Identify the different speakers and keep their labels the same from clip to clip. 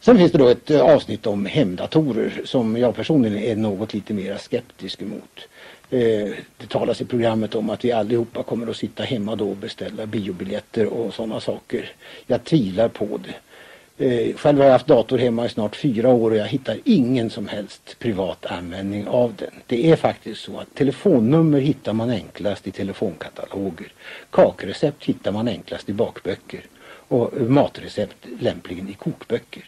Speaker 1: Sen finns det då ett eh, avsnitt om hemdatorer som jag personligen är något lite mer skeptisk emot. Eh, Det talas i programmet om att vi allihopa kommer att sitta hemma då och beställa biobiljetter och sådana saker. Jag tvivlar på det. Eh, själv har jag haft dator hemma i snart fyra år och jag hittar ingen som helst privat användning av den. Det är faktiskt så att telefonnummer hittar man enklast i telefonkataloger. Kakrecept hittar man enklast i bakböcker och matrecept lämpligen i kokböcker.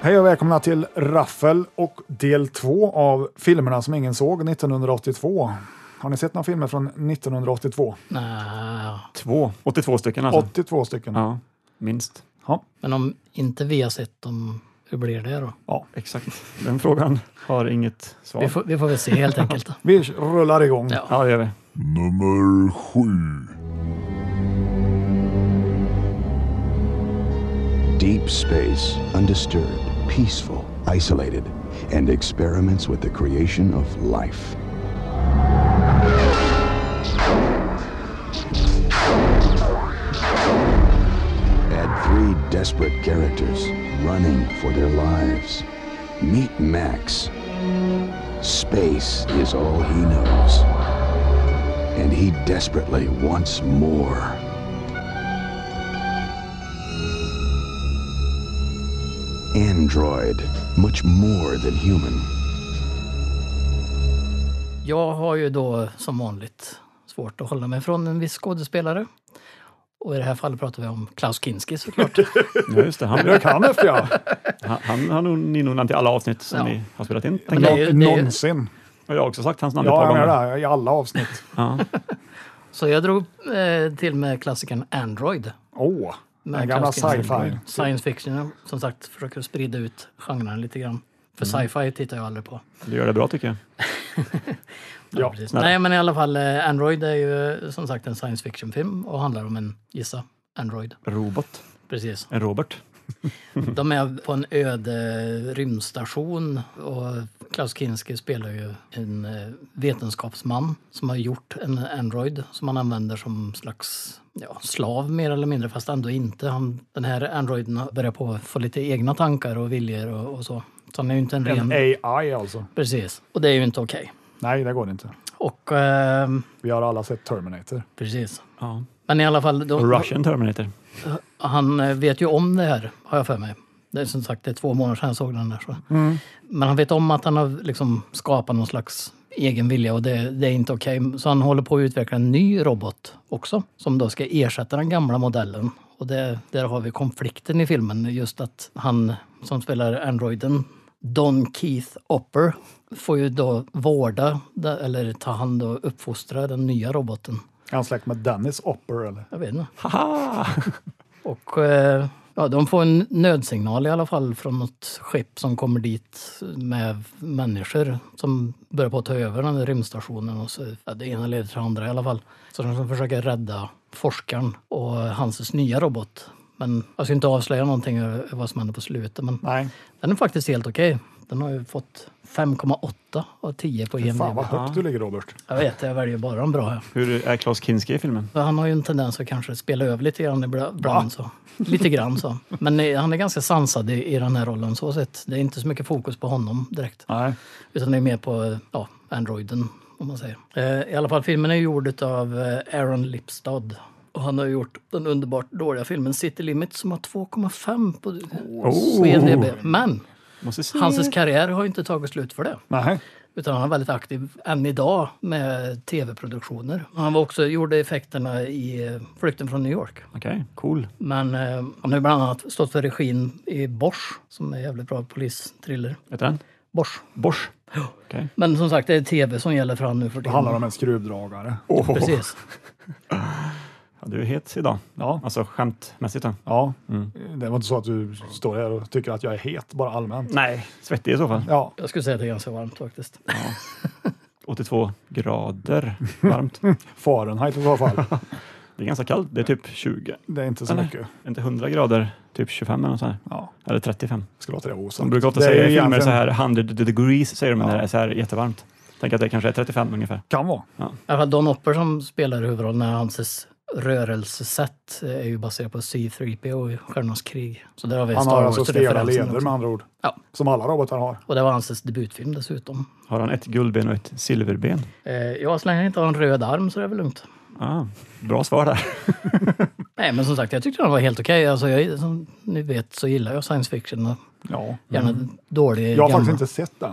Speaker 2: Hej och välkomna till Raffel och del två av filmerna som ingen såg 1982. Har ni sett några filmer från 1982?
Speaker 3: Nej,
Speaker 4: Två. 82 stycken alltså?
Speaker 2: 82 stycken.
Speaker 4: Ja, minst.
Speaker 2: Ja.
Speaker 3: men om inte vi har sett dem, hur blir det då?
Speaker 4: Exakt. Den frågan har inget svar.
Speaker 3: Vi får, vi får väl se helt enkelt.
Speaker 2: Vi rullar igång.
Speaker 3: Ja.
Speaker 4: Ja, det gör vi.
Speaker 5: Nummer sju.
Speaker 6: Deep space, undisturbed, peaceful, isolated, and experiments with the creation of life. Add three desperate characters running for their lives. Meet Max. Space is all he knows. And he desperately wants more. Android, much more than human.
Speaker 3: Jag har ju då som vanligt svårt att hålla mig från en viss skådespelare. Och i det här fallet pratar vi om Klaus Kinski såklart.
Speaker 4: Ja, just det. Han,
Speaker 2: Jag kan efter ja.
Speaker 4: han, han har nog ninunnan till alla avsnitt som
Speaker 3: Ja.
Speaker 4: ni har spelat in.
Speaker 3: Men
Speaker 4: tänker
Speaker 3: det är
Speaker 4: jag.
Speaker 3: ju- det är ju,
Speaker 2: Någonsin.
Speaker 4: Och jag har också sagt hans namn ett
Speaker 2: Ja,
Speaker 4: par
Speaker 2: jag
Speaker 4: gånger.
Speaker 2: menar det. I alla avsnitt.
Speaker 4: Ja.
Speaker 3: så jag drog eh, till med klassikern Android.
Speaker 2: Åh, den
Speaker 3: Med
Speaker 2: gamla
Speaker 3: Klaus Kinski.
Speaker 2: sci-fi.
Speaker 3: Science fiction, som sagt, försöker sprida ut genren lite grann. För sci-fi tittar jag aldrig på.
Speaker 4: Du gör det bra tycker jag.
Speaker 2: Ja.
Speaker 3: Precis. Nej, men i alla fall, eh, Android är ju eh, som sagt en science fiction-film och handlar om en, gissa, Android.
Speaker 4: Robot.
Speaker 3: Precis.
Speaker 4: En Robert.
Speaker 3: De är på en öde rymdstation och Klaus Kinski spelar ju en eh, vetenskapsman som har gjort en Android som han använder som slags ja, slav mer eller mindre, fast ändå inte. Han, den här Androiden har börjat på att få lite egna tankar och viljor och, och så. Så han är ju inte en
Speaker 2: En
Speaker 3: ren...
Speaker 2: AI alltså.
Speaker 3: Precis. Och det är ju inte okej.
Speaker 2: Nej, det går inte.
Speaker 3: Och... Eh,
Speaker 2: Vi har alla sett Terminator.
Speaker 3: precis.
Speaker 4: Ja.
Speaker 3: Men i alla fall... de-
Speaker 4: Och Russian Terminator.
Speaker 3: Han eh, vet ju om det här, har jag för mig. Det är som sagt det är två månader sedan jag såg den där. Så. Men han vet om att han har liksom skapat någon slags egen vilja och det, det är inte okej. Så han håller på att utveckla en ny robot också, som då ska ersätta den gamla modellen. Och det, där har vi konflikten i filmen, just att han som spelar androiden, Don Keith Opper, får ju då vårda, eller ta hand och uppfostra den nya roboten.
Speaker 2: Är han släkt med Dennis Opper eller?
Speaker 3: Jag vet inte.
Speaker 4: Haha!
Speaker 3: Och eh, ja, de får en nödsignal i alla fall från något skepp som kommer dit med människor som börjar på att ta över den där rymdstationen. Och så, ja, det ena leder till det andra i alla fall. Så de ska försöka rädda forskaren och hans nya robot. Men jag ska inte avslöja någonting över vad som händer på slutet. Men
Speaker 2: Nej,
Speaker 3: den är faktiskt helt okej. Den har ju fått 5,8 av 10 på IMDb.
Speaker 2: fan vad högt du ligger Robert.
Speaker 3: Jag vet, jag väljer bara de bra. här.
Speaker 4: Hur är Klaus Kinski i filmen?
Speaker 3: För Han har ju en tendens att kanske spela över lite grann ibland. ibland Så. Lite grann så. Men eh, han är ganska sansad i, i den här rollen så sett. Det är inte så mycket fokus på honom direkt.
Speaker 2: Nej.
Speaker 3: Utan det är mer på eh, ja, androiden, om man säger. Eh, I alla fall, filmen är gjord av eh, Aaron Lipstad. Och han har gjort den underbart dåliga filmen City Limit som har 2,5 på, på E IMDb. Men
Speaker 4: Måste se.
Speaker 3: hans karriär har ju inte tagit slut för det.
Speaker 2: Nej.
Speaker 3: Utan han är väldigt aktiv än idag med tv-produktioner. Han var också, gjorde effekterna i eh, Flykten från New York.
Speaker 4: Okej, cool.
Speaker 3: Men eh, han har ju bland annat stått för regin i Bosch, som är en jävligt bra polisthriller.
Speaker 4: Heter den?
Speaker 3: Bosch.
Speaker 4: Bosch? Okej.
Speaker 3: Men som sagt, det är tv som gäller för han nu för
Speaker 2: Det
Speaker 3: tiden.
Speaker 2: handlar om en skruvdragare.
Speaker 3: Precis.
Speaker 4: Ja, du är het idag.
Speaker 2: Ja.
Speaker 4: Alltså skämtmässigt då?
Speaker 2: Ja,
Speaker 4: Mm.
Speaker 2: det var inte så att du står här och tycker att jag är het bara allmänt.
Speaker 4: Nej, svettig i så fall.
Speaker 2: Ja,
Speaker 3: Jag skulle säga att det är ganska varmt faktiskt.
Speaker 4: 82 grader varmt.
Speaker 2: Fahrenheit i så fall.
Speaker 4: Det är ganska kallt. Det är typ 20.
Speaker 2: Det är inte så
Speaker 4: Eller?
Speaker 2: mycket.
Speaker 4: Inte 100 grader, typ 25 eller något sånt här.
Speaker 2: Ja,
Speaker 4: Eller 35.
Speaker 2: jag ska låta det vara osagt.
Speaker 4: De brukar ofta
Speaker 2: Det är
Speaker 4: säga i
Speaker 2: egentligen-
Speaker 4: filmer så här 100 degrees, säger de när det är så här jättevarmt. Tänk att det kanske är 35 ungefär.
Speaker 2: Kan vara.
Speaker 3: I alla fall Don Hopper som spelar huvudrollen, hans rörelsesätt eh, är ju baserat på C3PO i Stjärnornas krig. Så där har vi
Speaker 2: Han
Speaker 3: Star
Speaker 2: har alltså stela
Speaker 3: Wars-referensen
Speaker 2: leder
Speaker 3: också.
Speaker 2: med andra ord.
Speaker 3: Ja.
Speaker 2: Som alla robotar har.
Speaker 3: Och det var hans debutfilm dessutom.
Speaker 4: Har han ett guldben och ett silverben?
Speaker 3: Eh, jag så länge jag inte har en röd arm så är det väl lugnt.
Speaker 4: Ah, bra svar där.
Speaker 3: Nej, men som sagt, jag tyckte den var helt okej. Alltså, jag, som ni vet så gillar jag science fiction och
Speaker 2: Ja.
Speaker 3: gärna dålig
Speaker 2: Mm. Jag har
Speaker 3: gammal.
Speaker 2: faktiskt inte sett den.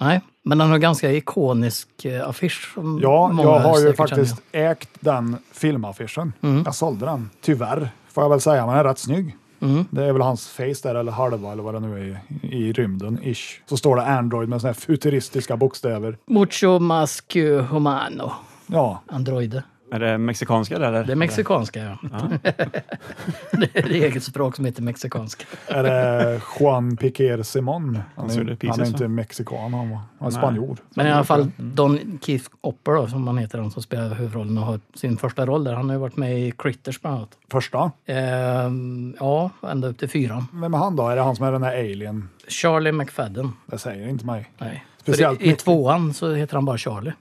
Speaker 3: Nej, men den har ganska ikonisk eh, affisch. Som
Speaker 2: Ja,
Speaker 3: många
Speaker 2: jag har ju
Speaker 3: säkert
Speaker 2: faktiskt
Speaker 3: känner. Mm.
Speaker 2: ägt den filmaffischen. Jag sålde den, tyvärr, får jag väl säga. Men den är rätt snygg.
Speaker 3: Mm.
Speaker 2: Det är väl hans face där, eller halva eller vad det nu är, i, i rymden, ish. Så står det Android med sådana här futuristiska bokstäver.
Speaker 3: Mucho mascu humano.
Speaker 2: Ja,
Speaker 3: Androide.
Speaker 4: Är det mexikanska eller?
Speaker 3: Det är mexikanska, ja. det är det eget språk som heter mexikanska.
Speaker 2: är det Juan Piquer Simon? Han
Speaker 4: ser det
Speaker 2: är,
Speaker 4: precis
Speaker 2: han är
Speaker 4: så.
Speaker 2: inte mexikan, han, var- han är Mm. spanjor.
Speaker 3: Men i alla fall Don Keith Hopper då, som han heter, han som spelar huvudrollen och har sin första roll där. Han har ju varit med i Critters bland annat.
Speaker 2: Första,
Speaker 3: Ehm, ja, ända upp till fyran.
Speaker 2: vem är han då? Är det han som är den här alien?
Speaker 3: Charlie McFadden.
Speaker 2: Det säger inte mig.
Speaker 3: Nej.
Speaker 2: Speciellt
Speaker 3: För i, I
Speaker 2: mycket.
Speaker 3: tvåan så heter han bara Charlie.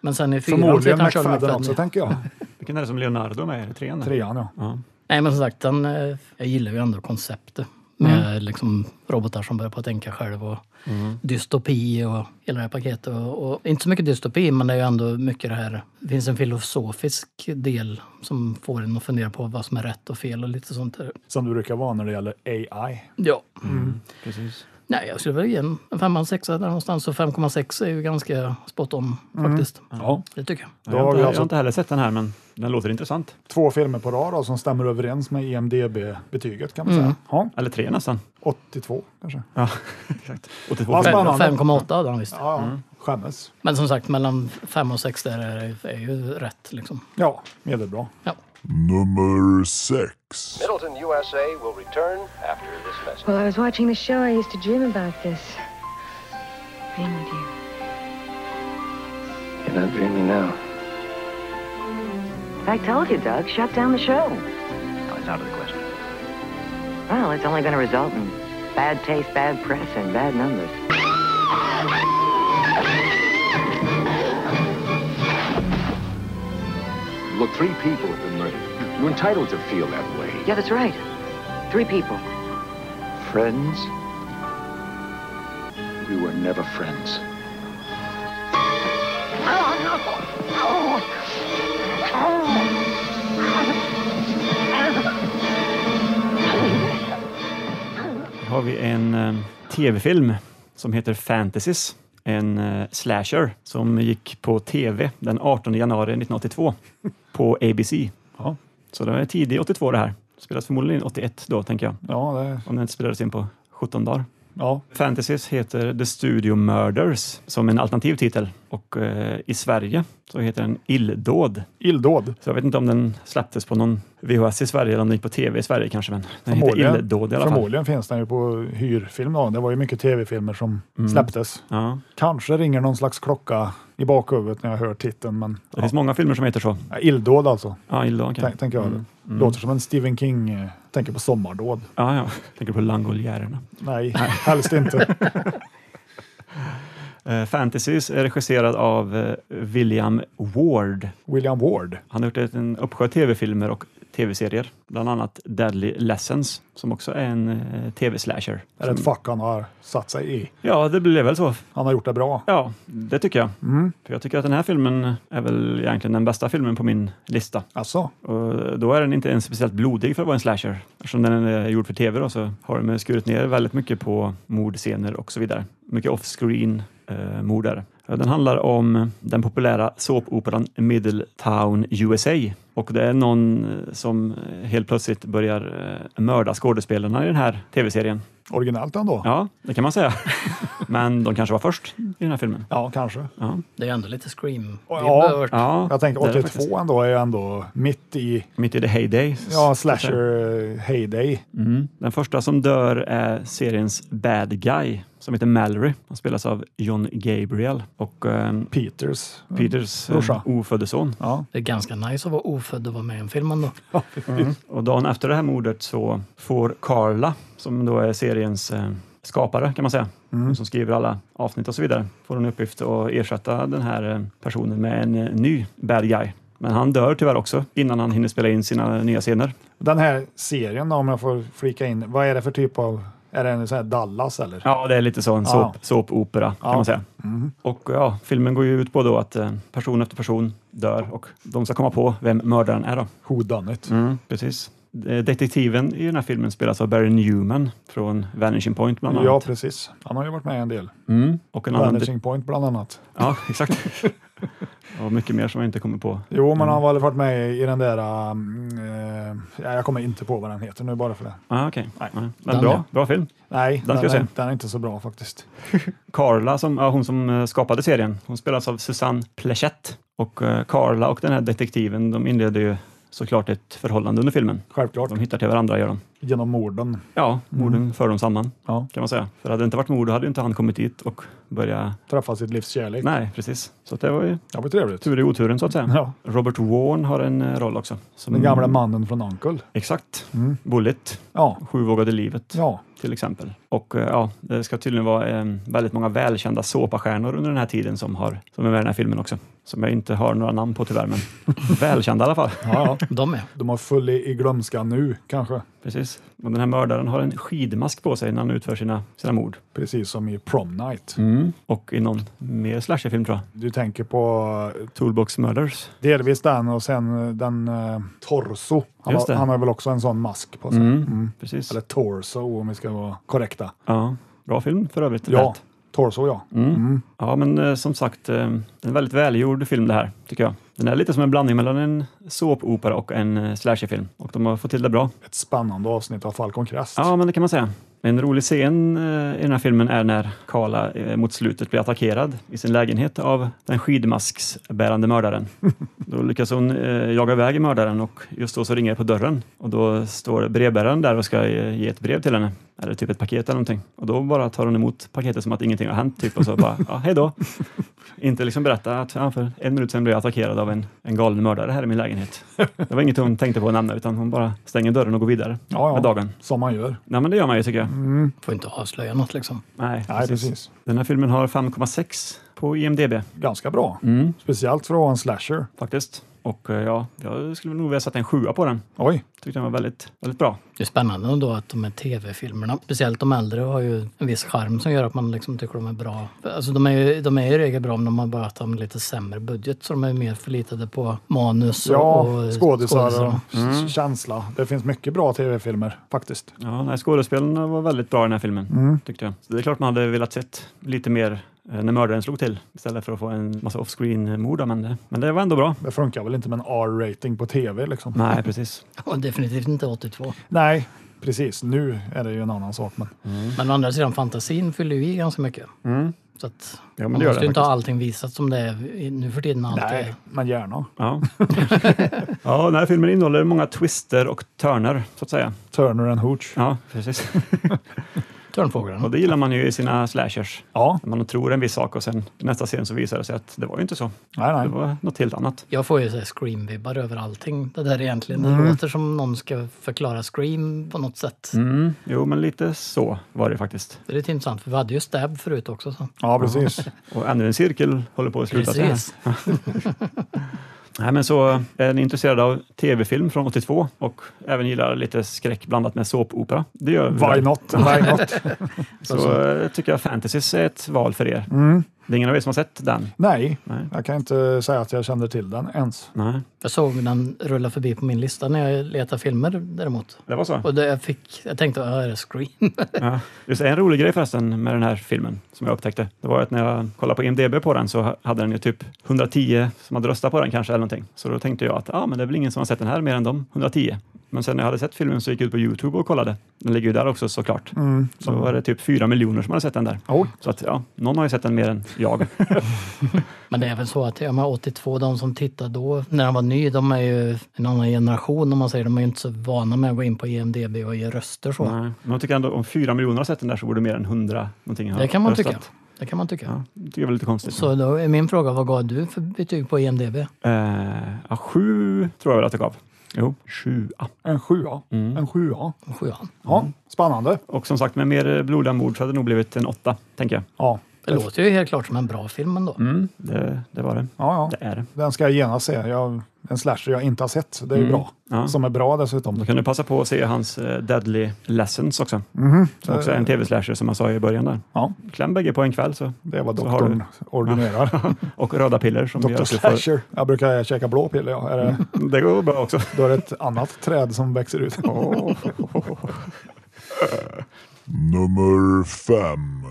Speaker 3: Men sen i fyran så
Speaker 2: Förmodligen
Speaker 3: heter han Charlie
Speaker 2: McFadden
Speaker 3: McFadden.
Speaker 2: också,
Speaker 3: ja.
Speaker 2: tänker jag.
Speaker 4: Vilken är det som Leonardo med? Är det trean? eller?
Speaker 2: Trean, ja.
Speaker 4: Ja.
Speaker 3: Nej, men som sagt, den, eh, jag gillar ju ändå konceptet med
Speaker 2: Mm.
Speaker 3: liksom, robotar som börjar på att tänka själv och dystopi och hela det här paketet. Och, och, inte så mycket dystopi, men det är ju ändå mycket det här. Det finns en filosofisk del som får en att fundera på vad som är rätt och fel och lite sånt där.
Speaker 2: Som du brukar vara när det gäller AI.
Speaker 3: Ja.
Speaker 4: Precis.
Speaker 3: Nej, jag skulle väl ge en en femma, en sexa där någonstans. Så 5,6 är ju ganska spot on faktiskt.
Speaker 2: Mm. Ja.
Speaker 3: Det tycker jag.
Speaker 4: jag,
Speaker 2: har
Speaker 4: har
Speaker 2: vi
Speaker 4: inte, jag
Speaker 2: alltså-
Speaker 4: har inte heller sett den här, men den låter intressant.
Speaker 2: Två filmer på rad då, som stämmer överens med EMDB-betyget kan man säga. Ja,
Speaker 4: Eller tre nästan.
Speaker 2: 82 kanske.
Speaker 4: Ja, exakt. 82
Speaker 2: Vad
Speaker 4: filmer.
Speaker 2: spännande.
Speaker 3: 5,8 hade han visst.
Speaker 2: Ja, skämmes.
Speaker 3: Men som sagt, mellan 5 och 6 där är, är ju rätt liksom.
Speaker 2: Ja, medelbra.
Speaker 3: Ja.
Speaker 5: Nummer sex.
Speaker 7: Middleton USA will return after this message.
Speaker 8: Well, I was watching the show. I used to dream about this. Being with you.
Speaker 7: You're not dreaming now.
Speaker 8: I told you, Doug. Shut down the show.
Speaker 7: No, it's out of the question.
Speaker 8: Well, it's only going to result in bad taste, bad press, and bad numbers.
Speaker 9: Look, three people have been murdered. You're entitled to feel that way.
Speaker 8: Yeah, that's right. Three people.
Speaker 9: Friends? We were never friends.
Speaker 4: Här har vi en eh, tv-film som heter Fantasies. En eh, slasher som gick på tv den 18 januari 1982 på ABC.
Speaker 2: Ja.
Speaker 4: Så det var tidig 82 det här. Spelas förmodligen in 81 då, tänker jag.
Speaker 2: Ja, det,
Speaker 4: Om den inte spelades in på 17 dagar.
Speaker 2: ja.
Speaker 4: Fantasies heter The Studio Murders som en alternativ titel och eh, i Sverige så heter den Illdåd.
Speaker 2: Illdåd.
Speaker 4: Så jag vet inte om den släpptes på någon VHS i Sverige eller om den gick på TV i Sverige kanske, men den heter
Speaker 2: Förmodligen,
Speaker 4: Illdåd i alla fall.
Speaker 2: förmodligen finns den ju på hyrfilm. Då. Det var ju mycket tv-filmer som släpptes.
Speaker 4: Ja,
Speaker 2: Kanske ringer någon slags klocka i bakhuvudet när jag hör titeln, men
Speaker 4: det finns många filmer som heter så.
Speaker 2: ja, illdåd alltså,
Speaker 4: Ja, Mm. Illdåd okej.
Speaker 2: tän- tänker jag. Låter som en Stephen King, eh, tänker på sommardåd.
Speaker 4: Ja, ja. Tänker på Langoljärerna.
Speaker 2: Nej, helst inte.
Speaker 4: Uh, Fantasies är regisserad av eh, William Ward.
Speaker 2: William Ward.
Speaker 4: Han har gjort ett- en uppsjö tv-filmer och tv-serier, bland annat Deadly Lessons som också är en eh, tv-slasher.
Speaker 2: Är det ett fack han har satt sig i?
Speaker 4: Ja, det blev väl så.
Speaker 2: Han har gjort det bra. Mm.
Speaker 4: Ja, det tycker jag. För jag tycker att den här filmen är väl egentligen den bästa filmen på min lista.
Speaker 2: Alltså,
Speaker 4: Och då är den inte ens speciellt blodig för att vara en slasher. Eftersom den är gjord för tv då, så har de skurit ner väldigt mycket på mordscener och så vidare. Mycket off-screen eh, mordare. Den handlar om den populära såpoperan Middletown USA och det är någon eh, som helt plötsligt börjar eh, mörda skådespelarna i den här tv-serien.
Speaker 2: Originellt ändå. Ja,
Speaker 4: Ja, det kan man säga. Men de kanske var först i den här filmen.
Speaker 2: kanske.
Speaker 4: Ja,
Speaker 3: Det är ändå lite scream
Speaker 2: Ja.
Speaker 3: Vibbar.
Speaker 4: ja
Speaker 2: Jag tänker
Speaker 4: det är det faktiskt.
Speaker 2: 82 ändå är ju ändå mitt i
Speaker 4: Mitt i the heyday.
Speaker 2: ja, slasher eh, heyday.
Speaker 4: Mm. Den första som dör är seriens bad guy som heter Mallory. Han spelas av John Gabriel och eh,
Speaker 2: Peters.
Speaker 4: Peters
Speaker 2: Brorsa.
Speaker 4: eh, ofödde son.
Speaker 2: Ja.
Speaker 3: Det är ganska nice att vara ofödd och vara med i en film ändå.
Speaker 4: Och dagen efter det här mordet så får Carla, som då är seriens eh, skapare kan man säga,
Speaker 2: Mm.
Speaker 4: hon som skriver alla avsnitt och så vidare, får en uppgift att ersätta den här eh, personen med en eh, ny bad guy. Men han dör tyvärr också innan han hinner spela in sina nya scener.
Speaker 2: Den här serien då, om jag får flika in, vad är det för typ av, är det en sån här Dallas eller? Mm.
Speaker 4: Ja, det är lite så en såp,
Speaker 2: Ja.
Speaker 4: såpopera
Speaker 2: Ja.
Speaker 4: kan man säga. Och ja, filmen går ju ut på då att eh, person efter person dör och de ska komma på vem mördaren är då.
Speaker 2: Who done it?
Speaker 4: Precis. Eh, Detektiven i den här filmen spelas av Barry Newman från Vanishing Point bland annat.
Speaker 2: Ja, precis. Han har ju varit med en del.
Speaker 4: Mm. Och en annan
Speaker 2: Vanishing Point bland annat.
Speaker 4: Ja, exakt. Och mycket mer som jag inte kommer på. Mm.
Speaker 2: Jo, men han har väl varit med i den där, um, eh, ja, jag kommer inte på vad den heter nu bara för det.
Speaker 4: Ah, okej. Nej. Men
Speaker 3: Den,
Speaker 4: bra,
Speaker 3: ja.
Speaker 4: bra film.
Speaker 2: Nej,
Speaker 4: Den
Speaker 2: den,
Speaker 4: ska jag
Speaker 2: är,
Speaker 4: se.
Speaker 2: den är inte så bra faktiskt.
Speaker 4: Carla, som, ja, hon som eh, skapade serien, hon spelas av Susanne Plechette. Och eh, Carla och den här detektiven, de inleder ju såklart ett förhållande under filmen.
Speaker 2: Självklart,
Speaker 4: De hittar till varandra, gör de.
Speaker 2: genom morden.
Speaker 4: Ja, morden för dem samman,
Speaker 2: Mm. Ja.
Speaker 4: kan man säga. För hade det inte varit mord, då hade ju inte han kommit dit och börjat...
Speaker 2: Träffa sitt livs kärlek.
Speaker 4: Nej, precis. Så att det var ju
Speaker 2: Det var trevligt.
Speaker 4: tur i oturen, så att säga.
Speaker 2: Ja.
Speaker 4: Robert Warren har en eh, roll också. Som
Speaker 2: Den gamla mannen från Uncle. Mm.
Speaker 4: Exakt. Bullet.
Speaker 2: Ja,
Speaker 4: Sju vågade livet.
Speaker 2: ja.
Speaker 4: till exempel. Och eh, ja, det ska tydligen vara eh, väldigt många välkända såpastjärnor under den här tiden som, har, som är med i den här filmen också. Som jag inte har några namn på tyvärr, men välkända i alla fall.
Speaker 2: ja, ja.
Speaker 3: De är.
Speaker 2: De har full i, i glömska nu kanske.
Speaker 4: Precis. Och den här mördaren har en skidmask på sig när han utför sina, sina mord.
Speaker 2: Precis som i Prom Night.
Speaker 4: Och i någon mer slasherfilm tror jag.
Speaker 2: Du tänker på eh,
Speaker 4: Toolbox Murders.
Speaker 2: delvis den och sen eh, den eh, Torso. Han,
Speaker 4: Just
Speaker 2: har,
Speaker 4: det.
Speaker 2: han har väl också en sån mask på sig. Mm.
Speaker 4: Precis.
Speaker 2: Eller Torso om vi ska vara korrekta.
Speaker 4: Ja, bra film för övrigt.
Speaker 2: Ja, Mm.
Speaker 4: Lätt.
Speaker 2: Torso ja.
Speaker 4: Ja, men eh, som sagt, eh, en väldigt välgjord film det här, tycker jag. Den är lite som en blandning mellan en såpopera och en eh, slasherfilm. Och de har fått till det bra.
Speaker 2: Ett spännande avsnitt av Falcon Crest.
Speaker 4: Ja, men det kan man säga. En rolig scen eh, i den här filmen är när Carla eh, mot slutet blir attackerad i sin lägenhet av den skidmasksbärande mördaren. Då lyckas hon eh, jaga iväg mördaren och just då så ringer det på dörren och då står brevbäraren där och ska eh, ge ett brev till henne, eller typ ett paket eller någonting. Och då bara tar hon emot paketet som att ingenting har hänt, typ och så bara ja, hej då. Inte liksom berätta att ja, för en minut sedan blev jag attackerad av en, en galen mördare här i min lägenhet. Det var inget hon tänkte på att nämna utan hon bara stänger dörren och går vidare
Speaker 2: Ja, ja.
Speaker 4: med dagen.
Speaker 2: Som man gör.
Speaker 4: Nej, men det gör man ju tycker jag.
Speaker 3: Får inte avslöja något liksom.
Speaker 4: Nej,
Speaker 2: Nej, precis.
Speaker 4: Den här filmen har 5,6 på IMDB
Speaker 2: Ganska bra. Speciellt för att vara en slasher.
Speaker 4: faktiskt. Och eh, ja, jag skulle nog vilja sätta en sjua på den.
Speaker 2: Oj,
Speaker 4: Tyckte den var väldigt, väldigt bra.
Speaker 3: Det är spännande ändå att de här tv-filmerna, speciellt de äldre, har ju en viss charm som gör att man liksom tycker de är bra. Alltså de är ju, de är ju i regel bra om de har bara att de lite sämre budget så de är mer förlitade på manus och,
Speaker 2: ja,
Speaker 3: och
Speaker 2: skådisar
Speaker 3: skådisar.
Speaker 2: och
Speaker 4: Mm.
Speaker 2: s- känsla. Det finns mycket bra tv-filmer faktiskt.
Speaker 4: Ja, nej, skådespelarna var väldigt bra i den här filmen, tyckte jag. Så det är klart man hade velat sett lite mer eh, när mördaren slog till istället för att få en massa off-screen-mord. av henne. Men det var ändå bra.
Speaker 2: Det funkar väl inte med en R-rating på tv liksom?
Speaker 4: Nej, precis.
Speaker 3: Och definitivt inte 82.
Speaker 2: Nej, precis. Nu är det ju en annan sak. Men
Speaker 3: Men å andra sidan, fantasin fyller ju i ganska mycket. Så att
Speaker 4: Mm. men
Speaker 3: man
Speaker 4: det gör
Speaker 3: måste
Speaker 4: det
Speaker 3: ju inte ha allting visat som det är i- nu för tiden. Allt
Speaker 2: nej,
Speaker 3: är-
Speaker 2: men gärna.
Speaker 4: Ja. ja, den här filmen innehåller många twister och törner, så att säga.
Speaker 2: Turner and Hooch.
Speaker 4: Ja, precis.
Speaker 3: Törnfåglarna.
Speaker 4: Och det gillar man ju i sina slashers.
Speaker 2: Ja,
Speaker 4: Man tror en viss sak och sen i nästa scen så visar det sig att det var ju inte så. Det
Speaker 2: nej, nej.
Speaker 4: var något helt annat.
Speaker 3: Jag får ju så här scream-vibbar över allting. Det där egentligen, det
Speaker 4: Mm.
Speaker 3: låter som någon ska förklara scream på något sätt.
Speaker 4: Jo, men lite så var det faktiskt.
Speaker 3: Det är lite intressant, för vi hade ju stab förut också. Så.
Speaker 2: Ja, precis.
Speaker 4: Och ännu en cirkel håller på att sluta. sig här.
Speaker 3: Precis.
Speaker 4: Nej, men så är ni intresserade av tv-film från 82 och även gillar lite skräck blandat med såpopera. Det gör vi.
Speaker 2: Why not? Why not?
Speaker 4: Så eh, tycker jag Fantasies är ett val för er. Det är ingen av er som har sett den?
Speaker 2: Nej,
Speaker 4: Nej.
Speaker 2: jag kan inte säga att jag kände till den ens.
Speaker 4: Nej,
Speaker 3: Jag såg den rulla förbi på min lista när jag letade filmer däremot.
Speaker 4: det var så.
Speaker 3: Och det jag, fick, jag tänkte, "Ah, är det Scream?
Speaker 4: Ja. Just en rolig grej förresten med den här filmen som jag upptäckte, det var att när jag kollade på IMDB på den så ha- hade den ju typ 110 som hade röstat på den kanske eller någonting. Så då tänkte jag att ah, men det är väl ingen som har sett den här mer än de 110. Men sen när jag hade sett filmen så gick jag ut på Youtube och kollade. Den ligger ju där också såklart.
Speaker 3: Mm.
Speaker 2: Mm.
Speaker 4: Så var det typ fyra miljoner som hade sett den där.
Speaker 2: Oj.
Speaker 4: Så att ja, någon har ju sett den mer än jag.
Speaker 3: Men det är väl så att de här 82, de som tittade då, när han var ny, de är ju en annan generation om man säger. De är ju inte så vana med att gå in på E IMDB och ge röster så.
Speaker 4: Nej. Men jag tycker ändå om fyra miljoner har sett den där så borde mer än 100 någonting ha
Speaker 3: Det kan man
Speaker 4: röstat.
Speaker 3: tycka. Det kan man tycka.
Speaker 4: Ja, det tycker jag var lite konstigt.
Speaker 3: Så då är min fråga, vad gav du för betyg på E IMDB?
Speaker 4: Eh, ja, sju tror jag väl att jag gav. Jo, Ah. sjua.
Speaker 2: En sjua.
Speaker 4: Mm.
Speaker 2: En sjua.
Speaker 3: Sjuan.
Speaker 2: Ja, spännande.
Speaker 4: Och som sagt, med mer blodiga mord så hade det nog blivit en åtta, tänker jag.
Speaker 2: Ja.
Speaker 3: Det låter ju helt klart som en bra film ändå.
Speaker 4: Det, det var det.
Speaker 2: Ja,
Speaker 4: Det
Speaker 2: ja.
Speaker 4: är det.
Speaker 2: Den ska jag genast se. Jag, en slasher jag inte har sett. Det är ju bra.
Speaker 4: Mm. Ja.
Speaker 2: Som är bra dessutom.
Speaker 4: Då kan du passa på att se hans eh, Deadly Lessons också. Som också är en tv-slasher som jag sa i början där.
Speaker 2: Mhm. Ja,
Speaker 4: Kläm bägge på en kväll så.
Speaker 2: det är vad
Speaker 4: Så har du-
Speaker 2: doktorn ordinerar.
Speaker 4: Och röda piller som
Speaker 2: Doktor
Speaker 4: alltid får-
Speaker 2: Slasher. Jag brukar käka blå piller. Ja. Är det,
Speaker 4: Det går bra också.
Speaker 2: då är det ett annat träd som växer ut.
Speaker 5: Nummer fem.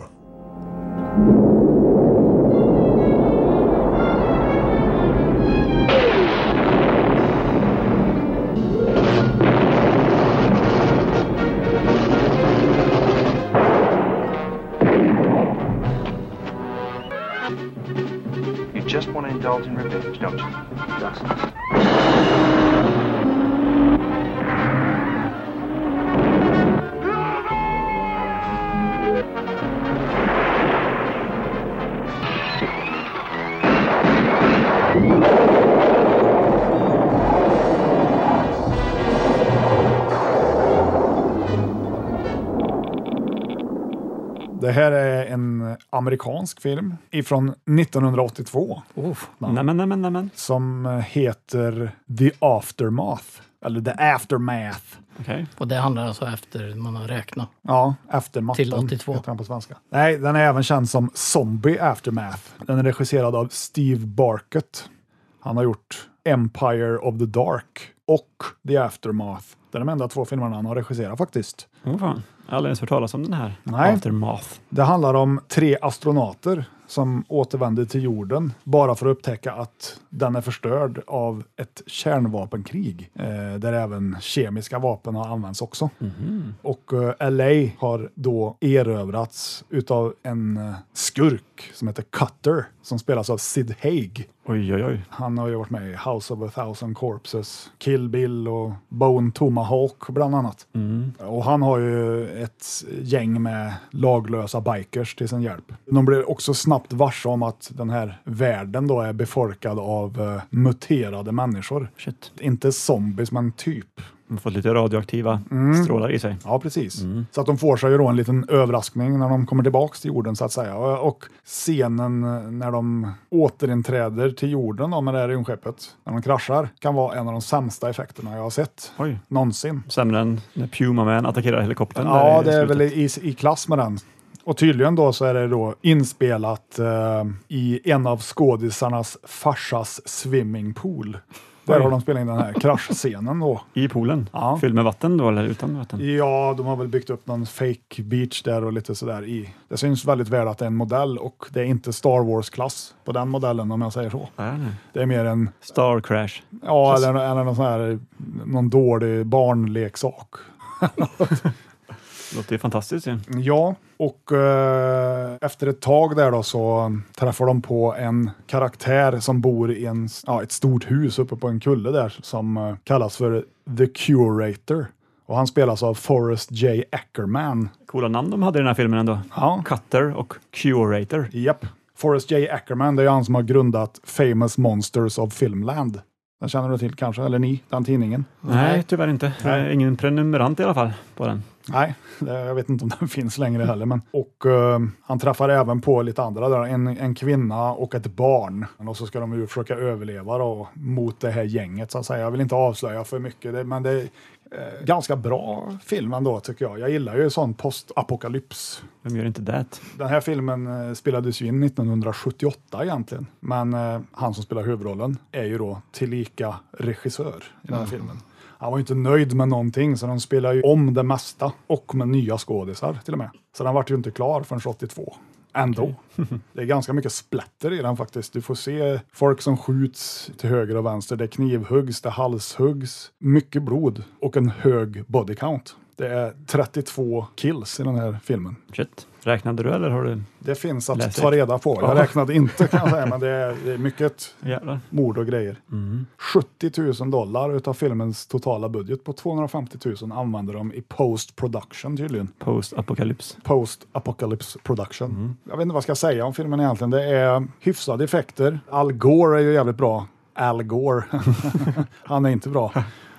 Speaker 7: You just want to indulge in revenge, don't you?
Speaker 2: Det här är en amerikansk film ifrån 1982
Speaker 3: Uff.
Speaker 4: Nej men, nej men, nej men.
Speaker 2: som heter The Aftermath. Eller The Aftermath.
Speaker 4: Okej.
Speaker 3: Och det handlar alltså efter man har räknat.
Speaker 2: Ja, Aftermatten
Speaker 3: Till 82.
Speaker 2: heter den på svenska. Nej, den är även känd som Zombie Aftermath. Den är regisserad av Steve Barkett. Han har gjort Empire of the Dark och The Aftermath. Det är de enda två filmerna han har regisserat faktiskt.
Speaker 4: Åh fan. Jag har aldrig ens hört talas om den här.
Speaker 2: Nej.
Speaker 4: Aftermath.
Speaker 2: Det handlar om tre astronauter som återvänder till jorden bara för att upptäcka att den är förstörd av ett kärnvapenkrig eh, där även kemiska vapen har använts också. Och eh, LA har då erövrats utav en eh, skurk som heter Cutter som spelas av Sid Haig.
Speaker 4: Oj, oj, oj.
Speaker 2: Han har ju varit med i House of a thousand corpses, Kill Bill och Bone Tomahawk bland annat. Och han har ju ett gäng med laglösa bikers till sin hjälp. De blir också snabbt varse om att den här världen då är befolkad av eh, muterade människor.
Speaker 4: Shit.
Speaker 2: Inte zombies, men typ.
Speaker 4: De har fått lite radioaktiva
Speaker 2: Mm.
Speaker 4: strålar i sig.
Speaker 2: Ja, precis.
Speaker 4: Mm.
Speaker 2: Så att de får sig ju då en liten överraskning när de kommer tillbaks till jorden så att säga. Och och scenen eh, när de återinträder till jorden då, med det här rymdskeppet, när de kraschar, kan vara en av de sämsta effekterna jag har sett
Speaker 4: Oj.
Speaker 2: någonsin.
Speaker 4: Sämre än när Puma Man attackerar helikoptern. där
Speaker 2: Ja,
Speaker 4: i
Speaker 2: det är
Speaker 4: slutet.
Speaker 2: väl i, i klass med den. Och tydligen då så är det då inspelat eh, i en av skådisarnas farsas swimmingpool. Där har de spelat in den här kraschscenen då.
Speaker 4: I poolen?
Speaker 2: Ja.
Speaker 4: Fylld med vatten då eller utan vatten?
Speaker 2: Ja, de har väl byggt upp någon fake beach där och lite sådär i. Det syns väldigt väl att det är en modell och det är inte Star Wars-klass på den modellen om jag säger så.
Speaker 4: Nej, nej.
Speaker 2: Det är mer en,
Speaker 4: Star Crash.
Speaker 2: ja, eller, eller någon sån här, någon dålig barnleksak.
Speaker 4: Låter ju fantastiskt ju.
Speaker 2: Ja, och eh, efter ett tag där då så träffar de på en karaktär som bor i en, ja, ett stort hus uppe på en kulle där som eh, kallas för The Curator. Och han spelas av Forrest J. Ackerman.
Speaker 4: Coola namn de hade i den här filmen ändå.
Speaker 2: Ja.
Speaker 4: Cutter och Curator.
Speaker 2: Japp. Forrest J. Ackerman, det är ju han som har grundat Famous Monsters of Filmland. Den känner du till kanske, eller ni, den tidningen?
Speaker 4: Nej, tyvärr inte.
Speaker 2: Nej.
Speaker 4: Jag är Ingen prenumerant i alla fall på den.
Speaker 2: Nej, det, jag vet inte om den finns längre heller. Men. Och eh, han träffar även på lite andra där, en, en kvinna och ett barn. Och så ska de ju försöka överleva då, mot det här gänget så att säga. Jag vill inte avslöja för mycket, det, men det, eh, ganska bra film ändå tycker jag. Jag gillar ju sån postapokalyps.
Speaker 4: De gör inte det.
Speaker 2: Den här filmen eh, spelades ju in 1978 egentligen, men eh, han som spelar huvudrollen är ju då tillika regissör i den här filmen. Han var ju inte nöjd med någonting, så de spelar ju om det mesta och med nya skådisar till och med. Så den vart ju inte klar förrän 82. Ändå. Det är ganska mycket splatter i den faktiskt. Du får se folk som skjuts till höger och vänster. Det är knivhuggs, det är halshuggs, mycket blod och en hög body count. Det är 32 kills i den här filmen.
Speaker 4: Shit. Räknade du eller har du?
Speaker 2: Det finns att
Speaker 4: Läser.
Speaker 2: ta reda på. Jag
Speaker 4: Ja.
Speaker 2: räknade inte kan jag säga, men det är, det är mycket
Speaker 4: Jävlar.
Speaker 2: mord och grejer. 70 000 dollar utav filmens totala budget på 250 000 använder de i post production tydligen.
Speaker 4: Post-apokalyps.
Speaker 2: Post apocalypse production. Jag vet inte vad jag ska säga om filmen egentligen. Det är hyfsade effekter. Al Gore är ju jävligt bra. Al Gore. Han är inte bra.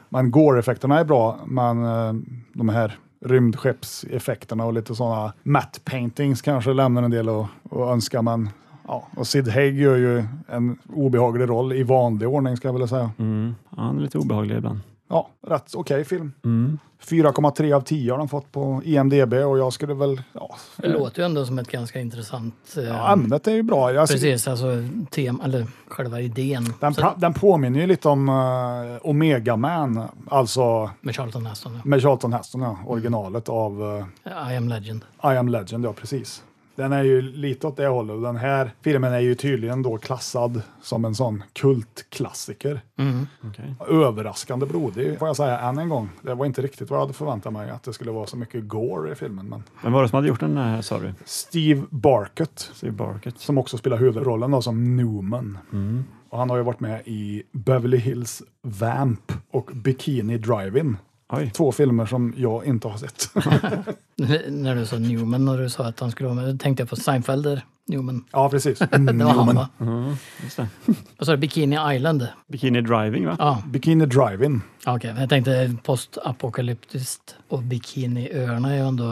Speaker 2: Men Gore-effekterna är bra, men eh, de här rymdskeppseffekterna och lite sådana matte paintings kanske lämnar en del att att önska, men ja. Och Sid Haig gör ju en obehaglig roll i vanlig ordning, ska jag vilja säga.
Speaker 4: Mm. Ja, han är lite obehaglig ibland.
Speaker 2: Ja, rätt okej film. 4,3 av 10 har den fått på IMDB och jag skulle väl... Ja,
Speaker 3: Det låter ju ändå som ett ganska intressant... eh,
Speaker 2: Ja, ämnet är ju bra. Jag,
Speaker 3: precis, alltså tema, eller själva idén.
Speaker 2: Den,
Speaker 3: Så-
Speaker 2: pra- den påminner ju lite om eh, Omega Man, alltså
Speaker 3: Med Charlton Heston,
Speaker 2: med Charlton Heston, ja,
Speaker 3: Mm.
Speaker 2: originalet av
Speaker 3: ja. I am legend.
Speaker 2: eh, I am legend, ja precis. Den är ju lite åt det hållet. Den här filmen är ju tydligen då klassad som en sån kultklassiker.
Speaker 3: Mm.
Speaker 4: Okej.
Speaker 2: Överraskande blodig, får jag säga än en gång. Det var inte riktigt vad jag hade förväntat mig, att det skulle vara så mycket gore i filmen. Men
Speaker 4: Vem var det som hade gjort den här sa du?
Speaker 2: Steve Barkett,
Speaker 4: Steve Barkett.
Speaker 2: som också spelar huvudrollen då, som Newman.
Speaker 4: Mm.
Speaker 2: Och han har ju varit med i Beverly Hills Vamp och Bikini Drive-In.
Speaker 4: Oj.
Speaker 2: Två filmer som jag inte har sett.
Speaker 3: När du sa Newman och du sa att han skulle vara med, då tänkte jag på Seinfeld där, Newman.
Speaker 2: ja, precis.
Speaker 3: Det var han
Speaker 2: Newman.
Speaker 3: va?
Speaker 4: Just det.
Speaker 3: Vad sa du, Bikini Island?
Speaker 4: Bikini Driving va?
Speaker 3: Ja,
Speaker 2: Bikini
Speaker 4: Mm,
Speaker 2: Drive-In.
Speaker 3: ah, okej. Jag tänkte postapokalyptiskt och Bikiniöarna är ju ändå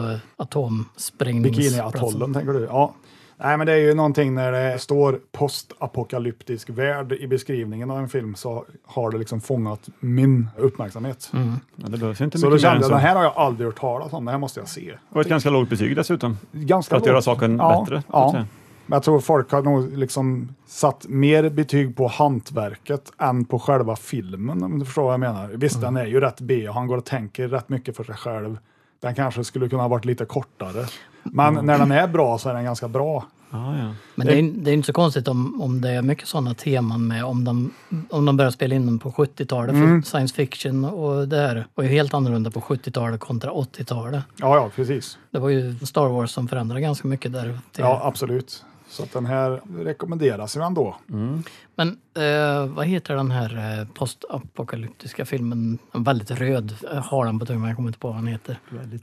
Speaker 3: atomsprängningsplatser.
Speaker 2: Bikiniatollen tänker du? Ja. Nej, men det är ju någonting när det står postapokalyptisk värld i beskrivningen av en film så har det liksom fångat min uppmärksamhet.
Speaker 4: Ja, det behövs ju inte
Speaker 2: Så då
Speaker 4: Mm. mycket mer
Speaker 2: kände
Speaker 4: än
Speaker 2: jag,
Speaker 4: så.
Speaker 2: den här har jag aldrig hört talas om, den här måste jag se.
Speaker 4: Och ett ganska lågt betyg dessutom.
Speaker 2: ganska
Speaker 4: För att göra
Speaker 2: lågt.
Speaker 4: saken bättre, så att
Speaker 2: Ja.
Speaker 4: säga.
Speaker 2: Men jag tror folk har nog liksom satt mer betyg på hantverket än på själva filmen, om du förstår vad jag menar. Visst,
Speaker 4: Mm.
Speaker 2: den är ju rätt B och han går och tänker rätt mycket för sig själv. Den kanske skulle kunna ha varit lite kortare. Men när den är bra så är den ganska bra.
Speaker 4: Ja, ja.
Speaker 3: Men det är, det är inte så konstigt om, om det är mycket sådana teman med om de, om de börjar spela in den på 70-talet.
Speaker 2: Mm.
Speaker 3: För science fiction och det här var ju helt annorlunda på 70-talet kontra 80-talet.
Speaker 2: Ja, ja, precis.
Speaker 3: Det var ju Star Wars som förändrade ganska mycket där. Till.
Speaker 2: Ja, absolut. Så att den här rekommenderas ju ändå.
Speaker 4: Mm.
Speaker 3: Men eh, vad heter den här eh, postapokalyptiska filmen? En väldigt röd eh, har den på tungan, jag kommer inte på vad den heter.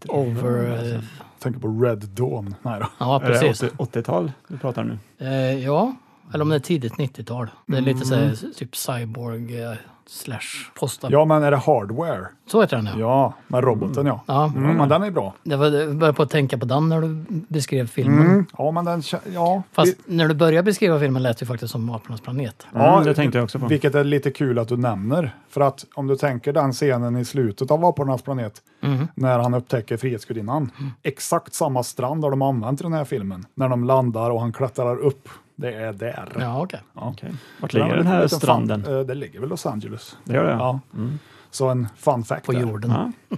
Speaker 3: Over... Eh,
Speaker 2: Tänker på Red Dawn. Nej då.
Speaker 3: ja,
Speaker 4: Är det
Speaker 3: precis.
Speaker 4: 80- 80-tal du pratar nu?
Speaker 3: Eh, ja, eller om det är tidigt 90-tal. Det är lite så här, typ cyborg eh, slash postapokalyptisk.
Speaker 2: Ja, men är det Hardware?
Speaker 3: Så heter den ja.
Speaker 2: Ja, med roboten ja.
Speaker 3: Ja.
Speaker 2: Mm, men den är bra.
Speaker 3: Det var, jag började på att tänka på den när du beskrev filmen.
Speaker 2: Ja, men den... kä- Ja,
Speaker 3: Fast när du började beskriva filmen lät det ju faktiskt som Apornas planet.
Speaker 4: Ja, Mm, det
Speaker 2: typ
Speaker 4: tänkte jag också på.
Speaker 2: Vilket är lite kul att du nämner. För att om du tänker den scenen i slutet av Apornas planet,
Speaker 4: Mhm.
Speaker 2: när han upptäcker Frihetsgudinnan.
Speaker 4: Mm.
Speaker 2: Exakt samma strand har de använt i den här filmen. När de landar och han klättrar upp. Det är där.
Speaker 3: Ja, okej.
Speaker 4: Okej. Vart
Speaker 2: Det är en
Speaker 4: ligger den här
Speaker 2: liten
Speaker 4: stranden?
Speaker 2: Fun, eh, det ligger väl Los Angeles.
Speaker 4: Det gör det? Ja. Mm.
Speaker 2: Ja. Så en fun fact.
Speaker 3: På
Speaker 2: där.
Speaker 3: jorden.
Speaker 4: Ja.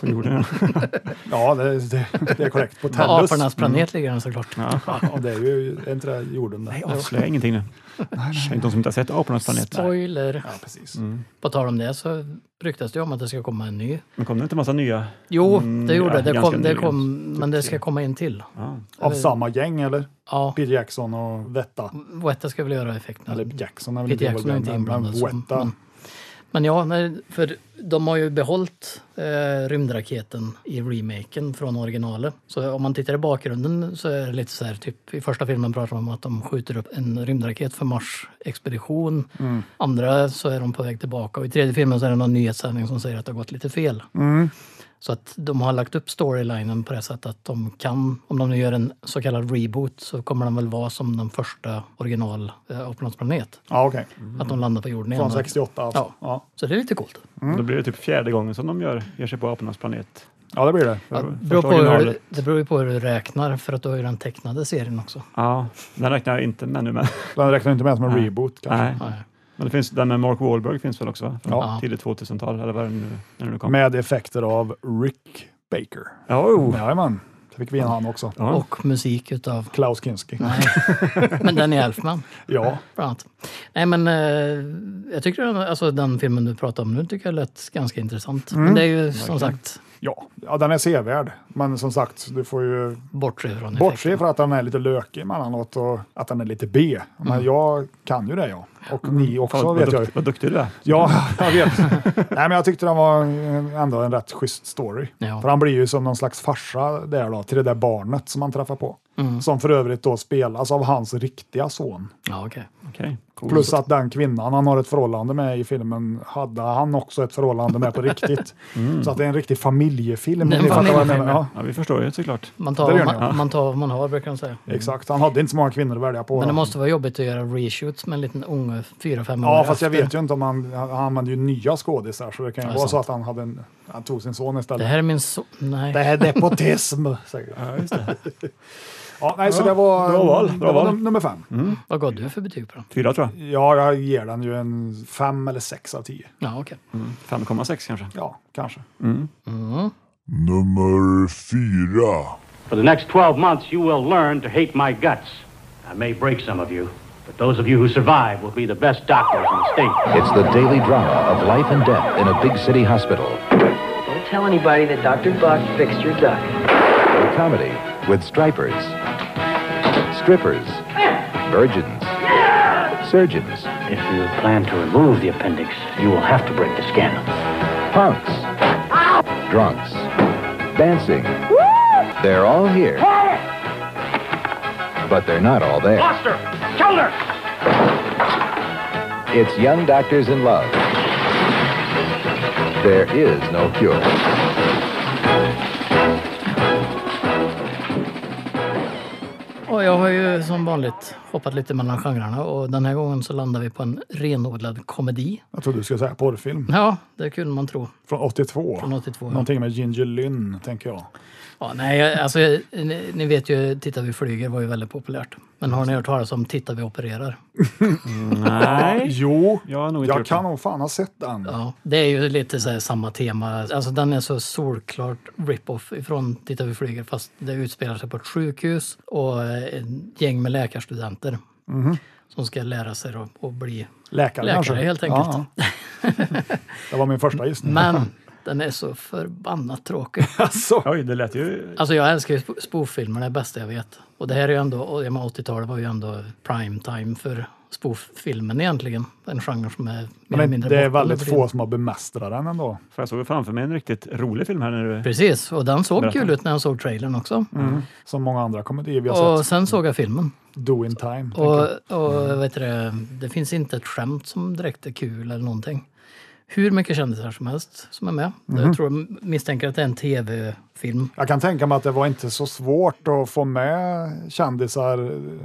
Speaker 4: På jorden, ja.
Speaker 2: Ja, det, det, det är korrekt. På
Speaker 3: På
Speaker 2: Tellus.
Speaker 3: Apornas planet ligger den såklart.
Speaker 2: Ja, det är ju är inte det jorden där.
Speaker 4: Avslöja ingenting nu. Tänk de som inte har sett Apornas planet.
Speaker 3: Spoiler.
Speaker 2: Ja, precis.
Speaker 4: Mm.
Speaker 3: På tal om det så ryktas det om att det ska komma en ny.
Speaker 4: Men kom det inte massa nya?
Speaker 3: Jo,
Speaker 4: Mm,
Speaker 3: det gjorde
Speaker 4: ja,
Speaker 3: det. Det
Speaker 4: ganska
Speaker 3: kom, det
Speaker 4: nyligen.
Speaker 3: kom, men det ska komma en till.
Speaker 4: Ja.
Speaker 2: Av samma gäng eller?
Speaker 3: Ja,
Speaker 2: Peter Jackson och Vetta.
Speaker 4: Mm.
Speaker 3: Weta ska väl göra effekten.
Speaker 2: Eller Jackson är väl
Speaker 3: Peter Jackson är inte
Speaker 2: involverad,
Speaker 3: inblandad.
Speaker 2: men
Speaker 3: som-
Speaker 2: Weta.
Speaker 3: Men,
Speaker 4: Mm.
Speaker 3: men ja, nej, för de har ju behållit eh, rymdraketen i remaken från originalet. Så om man tittar i bakgrunden så är det lite så här, typ i första filmen pratar de om att de skjuter upp en rymdraket för Mars-expedition.
Speaker 2: Mm. Mm.
Speaker 3: Andra så är de på väg tillbaka och i tredje filmen så är det någon nyhetssändning som säger att det har gått lite fel. Så att de har lagt upp storylinen på det sättet att de kan, om de nu gör en så kallad reboot, så kommer den väl vara som den första original eh, planet.
Speaker 2: Ja, okej.
Speaker 3: Att de landar på jorden igen.
Speaker 2: Från 68 alltså.
Speaker 3: Ja.
Speaker 2: Ja.
Speaker 3: Så det är lite coolt.
Speaker 4: Då blir det typ fjärde gången som de gör, ger sig på apornas planet.
Speaker 2: ja, det blir det.
Speaker 3: Ja,
Speaker 4: För-
Speaker 3: det,
Speaker 4: första
Speaker 3: beror på hur,
Speaker 4: originalet.
Speaker 3: det beror ju på hur du räknar, för att du har ju den tecknade serien också.
Speaker 4: Ja, den räknar jag inte med nu. Men,
Speaker 2: Den räknar inte med som en
Speaker 4: Nej.
Speaker 2: reboot kanske.
Speaker 4: nej.
Speaker 3: Ja, ja.
Speaker 4: men det finns, den med Mark Wahlberg finns väl också? va? Från
Speaker 2: Ja.
Speaker 4: tidigt 2000-tal, eller vad är det nu, när det nu kom?
Speaker 2: Med effekter av Rick Baker.
Speaker 4: oh.
Speaker 2: Jajamän, det fick vi in han också.
Speaker 4: ja.
Speaker 3: Och musik utav...
Speaker 2: Klaus Kinski.
Speaker 3: Men den är Elfman.
Speaker 2: Ja,
Speaker 3: Bland annat. Nej, men eh, jag tycker den, alltså, den filmen du pratar om nu tycker jag lät ganska intressant.
Speaker 4: Mm.
Speaker 3: Men det är ju som sagt
Speaker 2: ja. ja, den är sevärd. Men som sagt, du får ju
Speaker 3: bortse från
Speaker 2: bortse
Speaker 3: effekten.
Speaker 2: från att den är lite lökig emellanåt och att den är lite B. Men jag kan ju det jag. Och ni också
Speaker 4: Mm. Fan,
Speaker 2: vet
Speaker 4: vad,
Speaker 2: jag ju.
Speaker 4: dukt, vad duktig du är.
Speaker 2: Ja, jag vet. Nej, men jag tyckte den var eh, ändå en rätt schysst story.
Speaker 3: Ja.
Speaker 2: För han blir ju som någon slags farsa där då, till det där barnet som han träffar på.
Speaker 3: Mm.
Speaker 2: Som för övrigt då spelas av hans riktiga son.
Speaker 3: Ja, okej.
Speaker 4: Okej, cool.
Speaker 2: Plus
Speaker 3: Mm.
Speaker 2: att den kvinnan han har ett förhållande med i filmen hade han också ett förhållande med på riktigt. Så att det är en riktig familjefilm.
Speaker 3: Det är Mm.
Speaker 2: Ni
Speaker 3: en
Speaker 2: fattar vad jag
Speaker 3: familjefilm,
Speaker 2: menar. Ja,
Speaker 4: Ja, vi förstår ju såklart.
Speaker 3: Man,
Speaker 2: Det
Speaker 3: tar,
Speaker 2: gör
Speaker 3: man,
Speaker 2: ni, ja.
Speaker 3: man tar vad man har, brukar de säga.
Speaker 2: exakt. Han hade inte så många kvinnor att välja på.
Speaker 3: Men det
Speaker 2: då.
Speaker 3: måste vara jobbigt att göra reshoots med en liten unge, fyra, fem år
Speaker 2: Ja, fast jag
Speaker 3: efter.
Speaker 2: vet ju inte om han, han använde ju nya skådisar så det kan ju
Speaker 3: Ja,
Speaker 2: vara så
Speaker 3: sant.
Speaker 2: att han, hade en, han tog sin son istället.
Speaker 3: Det här är min son. Nej.
Speaker 2: Det här är nepotism, säger jag. Ja, just det. ja, nej, så det var,
Speaker 4: bra val,
Speaker 2: det
Speaker 4: bra
Speaker 2: var
Speaker 4: val. Mm.
Speaker 2: num- nummer fem.
Speaker 3: Vad gav du för betyg på den?
Speaker 4: Fyra tror jag.
Speaker 2: Ja, jag ger den ju en fem eller sex av tio.
Speaker 3: Ja, okej.
Speaker 4: 5,6 kanske.
Speaker 2: Ja, kanske.
Speaker 4: Mm.
Speaker 3: Mm.
Speaker 5: Nummer fyra.
Speaker 10: For the next 12 months, you will learn to hate my guts. I may break some of you, but those of you who survive will be the best doctors in the state.
Speaker 9: It's the daily drama of life and death in a big city hospital.
Speaker 8: Don't tell anybody that Dr. Buck fixed your duck.
Speaker 9: A comedy with stripers, strippers, virgins, surgeons,
Speaker 10: If you plan to remove the appendix, you will have to break the skin.
Speaker 9: punks, drunks, dancing. They're all here. But they're not all there.
Speaker 10: Foster! Shoulder!
Speaker 9: It's Young Doctors in Love. There is no cure.
Speaker 3: Och jag har ju som vanligt hoppat lite mellan genrerna och den här gången så landar vi på en renodlad komedi.
Speaker 2: Jag trodde du skulle säga porrfilm.
Speaker 3: Ja, det kunde man tro.
Speaker 2: Från 82.
Speaker 3: Från 82, ja.
Speaker 2: Någonting med Ginger Lynn, tänker jag.
Speaker 3: Ja, nej, jag- alltså, ni, ni vet ju, Titta vi flyger var ju väldigt populärt. Men har ni hört talas om Titta vi opererar?
Speaker 4: Nej,
Speaker 2: Jo,
Speaker 4: jag har nog inte
Speaker 2: jag
Speaker 4: gjort
Speaker 2: kan
Speaker 4: det.
Speaker 2: nog fan ha sett den.
Speaker 3: Ja, det är ju lite så här samma tema. Alltså den är så solklart rip-off ifrån Titta vi flyger fast det utspelar sig på ett sjukhus och eh, ett gäng med läkarstudenter Mhm. som ska lära sig då att bli
Speaker 2: Läkare,
Speaker 3: Läkare,
Speaker 2: kanske?
Speaker 3: helt enkelt.
Speaker 2: Ja, ja. Det var min första gissning.
Speaker 3: Men den är så förbannat tråkig.
Speaker 2: Alltså,
Speaker 4: Oj, det lät ju...
Speaker 3: Alltså jag älskar ju sp- spoof-filmer, det är det bästa jag vet. Och det här är ju ändå, och jag menar 80-talet var ju ändå prime time för spoof-filmen egentligen. En genre som är mer eller
Speaker 2: men
Speaker 3: mindre
Speaker 2: det är
Speaker 3: borta
Speaker 2: väldigt
Speaker 3: nu för tiden.
Speaker 2: få som har bemästrat den ändå.
Speaker 4: För jag såg framför mig en riktigt rolig film här när du...
Speaker 3: Precis, och den såg
Speaker 4: Berätta.
Speaker 3: kul ut när jag såg trailern också.
Speaker 2: Som många andra komedier vi Mm. har
Speaker 3: Och
Speaker 2: sett. Mm.
Speaker 3: sen såg jag filmen.
Speaker 2: Do in time. tänker jag.
Speaker 3: Och, och vet du, det, det finns inte ett skämt som direkt är kul eller någonting. Hur mycket kändisar som helst som är med.
Speaker 2: Mhm.
Speaker 3: Jag tror, misstänker att det är en tv-film.
Speaker 2: Jag kan tänka mig att det var inte så svårt att få med kändisar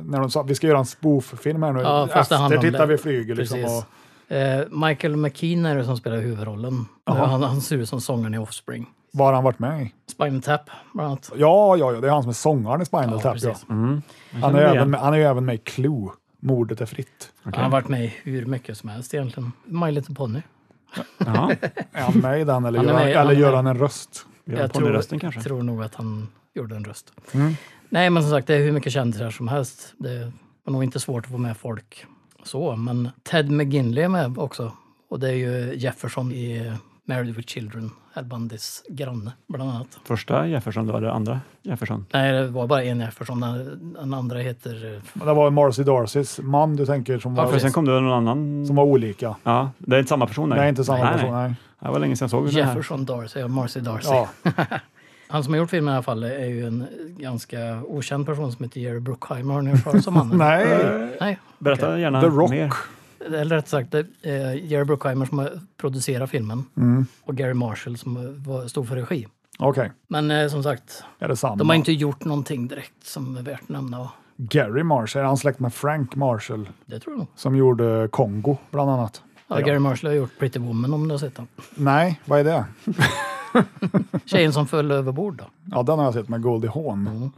Speaker 2: när de sa att vi ska göra en spoof-film här nu.
Speaker 3: Ja, fast det handlar
Speaker 2: Efter
Speaker 3: om
Speaker 2: tittar
Speaker 3: det.
Speaker 2: vi flyger liksom.
Speaker 3: Precis.
Speaker 2: Och,
Speaker 3: Eh, Michael McKean är det som spelar huvudrollen. Eh, Han, han ser ut som sångaren i Offspring.
Speaker 2: vad har han varit med i?
Speaker 3: Spinal Tap, bland annat.
Speaker 2: Ja, ja, ja, det är han som är sångaren i Spinal
Speaker 3: Ja,
Speaker 2: Tap. Ja. Mm,
Speaker 3: precis. Mm.
Speaker 2: Han, är
Speaker 4: känner
Speaker 2: ju
Speaker 4: igen.
Speaker 2: även med, han är ju även med i Clue, Mordet är fritt.
Speaker 3: Han har varit med i hur mycket som helst egentligen. My Little Pony.
Speaker 4: Ja,
Speaker 2: Är han med i den eller,
Speaker 3: Han är
Speaker 2: gör,
Speaker 3: med-
Speaker 2: han, eller
Speaker 3: han är
Speaker 2: gör
Speaker 3: med.
Speaker 2: han en röst?
Speaker 4: vi har ponnyrösten kanske.
Speaker 3: tror nog att han gjorde en röst.
Speaker 2: Mm.
Speaker 3: Nej, men som sagt, det är hur mycket kändisar som helst. Det var nog inte svårt att få med folk så, men Ted McGinley är med också. Och det är ju Jefferson i Married with Children, Al Bundys granne, bland annat.
Speaker 4: Första Jefferson, då var det andra Jefferson.
Speaker 3: Nej, det var bara en Jefferson. Den, den andra heter... eh,
Speaker 2: Men Det var Marcy Darcys man du tänker som
Speaker 4: För
Speaker 2: var,
Speaker 4: sen kom det någon annan...
Speaker 2: som var olika.
Speaker 4: Ja, det är inte samma person.
Speaker 2: Nej, inte samma
Speaker 4: nej,
Speaker 2: person.
Speaker 4: Nej.
Speaker 2: Nej.
Speaker 4: Det var länge sedan jag såg den här.
Speaker 3: Jefferson Darcy, Marcy Darcy.
Speaker 2: Ja,
Speaker 3: Han som har gjort filmen i alla fall är ju en ganska okänd person som heter Jerry Bruckheimer. Har ni hört talas om honom?
Speaker 2: nej,
Speaker 3: Nej.
Speaker 4: Berätta gärna
Speaker 2: The Rock.
Speaker 4: mer.
Speaker 3: Eller rätt sagt, eh, det är Jerry Bruckheimer som har producerat filmen och Gary Marshall som var, stod för regi.
Speaker 2: Okej.
Speaker 3: Men eh, som sagt,
Speaker 2: Är det samma?
Speaker 3: de har inte gjort någonting direkt som är värt att nämna. Och
Speaker 2: Gary Marshall, är han släkt med Frank Marshall
Speaker 3: det tror jag nog.
Speaker 2: som gjorde Kongo bland annat?
Speaker 3: Ja, Gary Marshall har gjort Pretty Woman om du har sett den.
Speaker 2: Nej, vad är det?
Speaker 3: Tjejen som föll överbord då.
Speaker 2: Ja, den har jag sett med Goldie Hawn.
Speaker 3: Mm.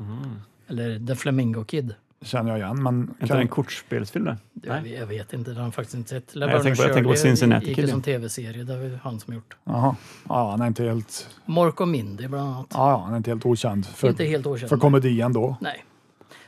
Speaker 3: Eller The Flamingo Kid.
Speaker 2: Känner jag igen, men...
Speaker 4: Är inte
Speaker 2: Kan...
Speaker 4: det en kortspelsfilm det?
Speaker 3: Det, jag, vet- jag vet inte, den har jag faktiskt inte sett.
Speaker 4: Nej, jag tänker på- jag tänker på Cincinnati
Speaker 3: gick
Speaker 4: Kid,
Speaker 3: ju
Speaker 4: ja.
Speaker 3: som tv-serie, det var ju han som gjort.
Speaker 2: Jaha. Ja, han är inte helt...
Speaker 3: Mork och Mindy bland annat.
Speaker 2: Ja, ja, han är inte helt okänd för,
Speaker 3: Inte helt okänd,
Speaker 2: för
Speaker 3: nej.
Speaker 2: komedin då.
Speaker 3: Nej.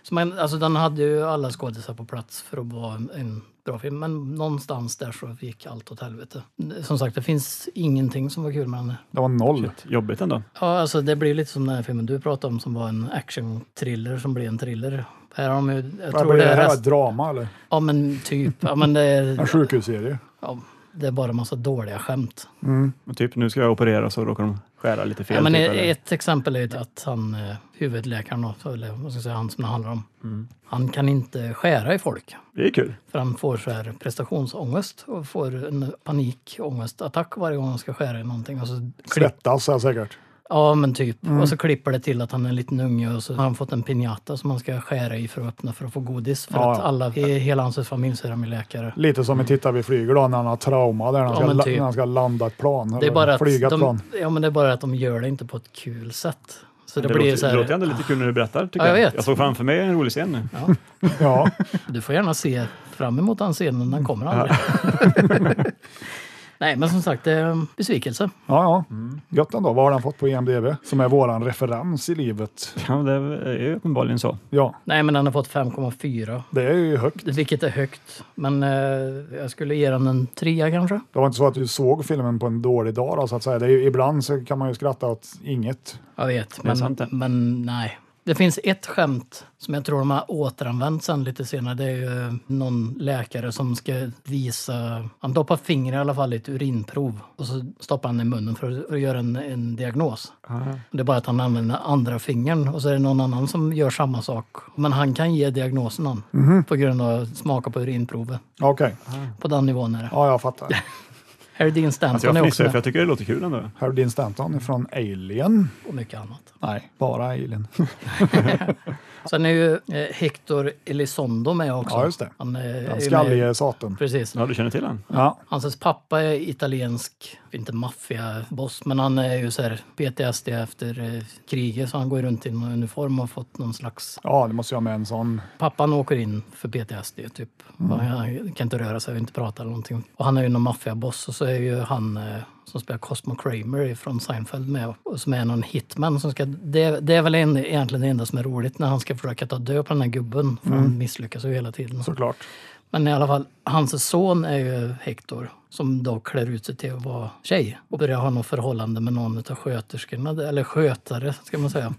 Speaker 3: Så man, alltså, den hade ju alla skådisar på plats för att vara en, en bra film. Men någonstans där så gick allt åt helvete. Som sagt, det finns ingenting som var kul med den.
Speaker 2: Det var noll.
Speaker 4: Jobbigt ändå.
Speaker 3: Ja, alltså det blir lite som den här filmen du pratade om som var en action-thriller som blev en thriller. Här har de ju, jag
Speaker 2: Vad
Speaker 3: tror
Speaker 2: blir
Speaker 3: det
Speaker 2: det här?
Speaker 3: är
Speaker 2: Ett
Speaker 3: rest,
Speaker 2: drama eller?
Speaker 3: Ja men typ. Ja men det
Speaker 2: En
Speaker 3: är,
Speaker 2: sjukhusserie?
Speaker 3: ja, det är bara massa dåliga skämt.
Speaker 4: Men Typ, nu ska jag operera och så råkar de skära lite fel.
Speaker 3: Ja, men
Speaker 4: typ,
Speaker 3: e-
Speaker 4: eller-
Speaker 3: ett exempel är ju att han, eh, huvudläkaren, då, eller vad ska jag säga, han som det handlar om,
Speaker 4: Mm.
Speaker 3: han kan inte skära i folk.
Speaker 4: Det är kul.
Speaker 3: För han får så här prestationsångest och får en panikångestattack varje gång han ska skära i någonting. Och så klipp,
Speaker 2: Svettas jag säkert.
Speaker 3: ja, men typ.
Speaker 4: Mm.
Speaker 3: Och så klipper det till att han är en liten unge och så har han fått en pinjata som han ska skära i för att öppna för att få godis. För
Speaker 2: Ja,
Speaker 3: att
Speaker 2: ja.
Speaker 3: alla i hela hans familj så är de ju läkare.
Speaker 2: Lite som en tittar vi flyger då när han har trauma där han
Speaker 3: Mm. Ja,
Speaker 2: ska,
Speaker 3: men
Speaker 2: la-
Speaker 3: typ.
Speaker 2: när han ska landa ett plan.
Speaker 3: Det är, bara att
Speaker 2: flyga ett
Speaker 3: de,
Speaker 2: plan.
Speaker 3: ja, men det är bara att de gör det inte på ett kul sätt. Så det,
Speaker 4: Det,
Speaker 3: blir
Speaker 4: låter,
Speaker 3: så här,
Speaker 4: det låter ändå lite kul när du berättar. Tycker
Speaker 3: Ja, jag
Speaker 4: jag,
Speaker 3: vet.
Speaker 4: jag såg framför mig en rolig scen nu.
Speaker 2: Ja,
Speaker 3: Du får gärna se fram emot den scenen, den kommer aldrig. Nej, men som sagt, det är en besvikelse.
Speaker 2: ja, ja.
Speaker 3: Mm.
Speaker 2: Gött ändå. Vad har den fått på IMDB? Som är våran referens i livet.
Speaker 4: Ja, det är ju uppenbarligen så.
Speaker 2: Ja,
Speaker 3: Nej, men den har fått 5,4,
Speaker 2: det är ju högt.
Speaker 3: vilket är högt. Men eh, jag skulle ge den en trea kanske.
Speaker 2: Det var inte så att du såg filmen på en dålig dag då, så att säga. Det är ju, ibland så kan man ju skratta åt inget.
Speaker 3: Jag vet,
Speaker 4: sant det.
Speaker 3: men, men nej. Det finns ett skämt som jag tror de har återanvänt sen lite senare. Det är ju eh, någon läkare som ska visa... Han doppar fingrar i alla fall i ett urinprov och så stoppar han i munnen för att göra en, en diagnos. Det är bara att han använder andra fingern och så är det någon annan som gör samma sak. Men han kan ge diagnosen han, på grund av att smaka på urinprovet.
Speaker 2: Okej,
Speaker 3: På den nivån är det.
Speaker 2: ja jag fattar.
Speaker 3: Harry Dean
Speaker 4: Så Alltså, jag
Speaker 3: Stanton är också
Speaker 4: fnissar för
Speaker 3: med,
Speaker 4: jag tycker det låter kul ändå.
Speaker 2: Harry Dean Stanton från Alien.
Speaker 3: och mycket annat.
Speaker 2: Nej, bara Alien.
Speaker 3: Sen är ju eh, Hector Elizondo med också.
Speaker 2: Ja, just det.
Speaker 3: Han är, är
Speaker 2: Den
Speaker 3: med-
Speaker 2: skallige saten.
Speaker 3: Precis.
Speaker 4: Ja, du känner till den?
Speaker 2: Ja,
Speaker 3: Hans pappa är italiensk, inte maffiaboss, men han är ju så här PTSD efter eh, kriget så han går runt i en uniform och har fått någon slags...
Speaker 2: ja, det måste jag med en sån.
Speaker 3: Pappan åker in för PTSD typ. Han kan inte röra sig och inte prata eller någonting. Och han är ju någon maffiaboss och så är ju han eh, som spelar Cosmo Kramer från Seinfeld med och som är någon hitman som ska... Det, det är väl en, egentligen det enda som är roligt när han ska försöka ta död på den här gubben för han misslyckas ju hela tiden.
Speaker 2: Såklart.
Speaker 3: Men i alla fall, hans son är ju Hector som då klär ut sig till att vara tjej och börjar ha något förhållande med någon av sköterskorna, eller skötare ska man säga,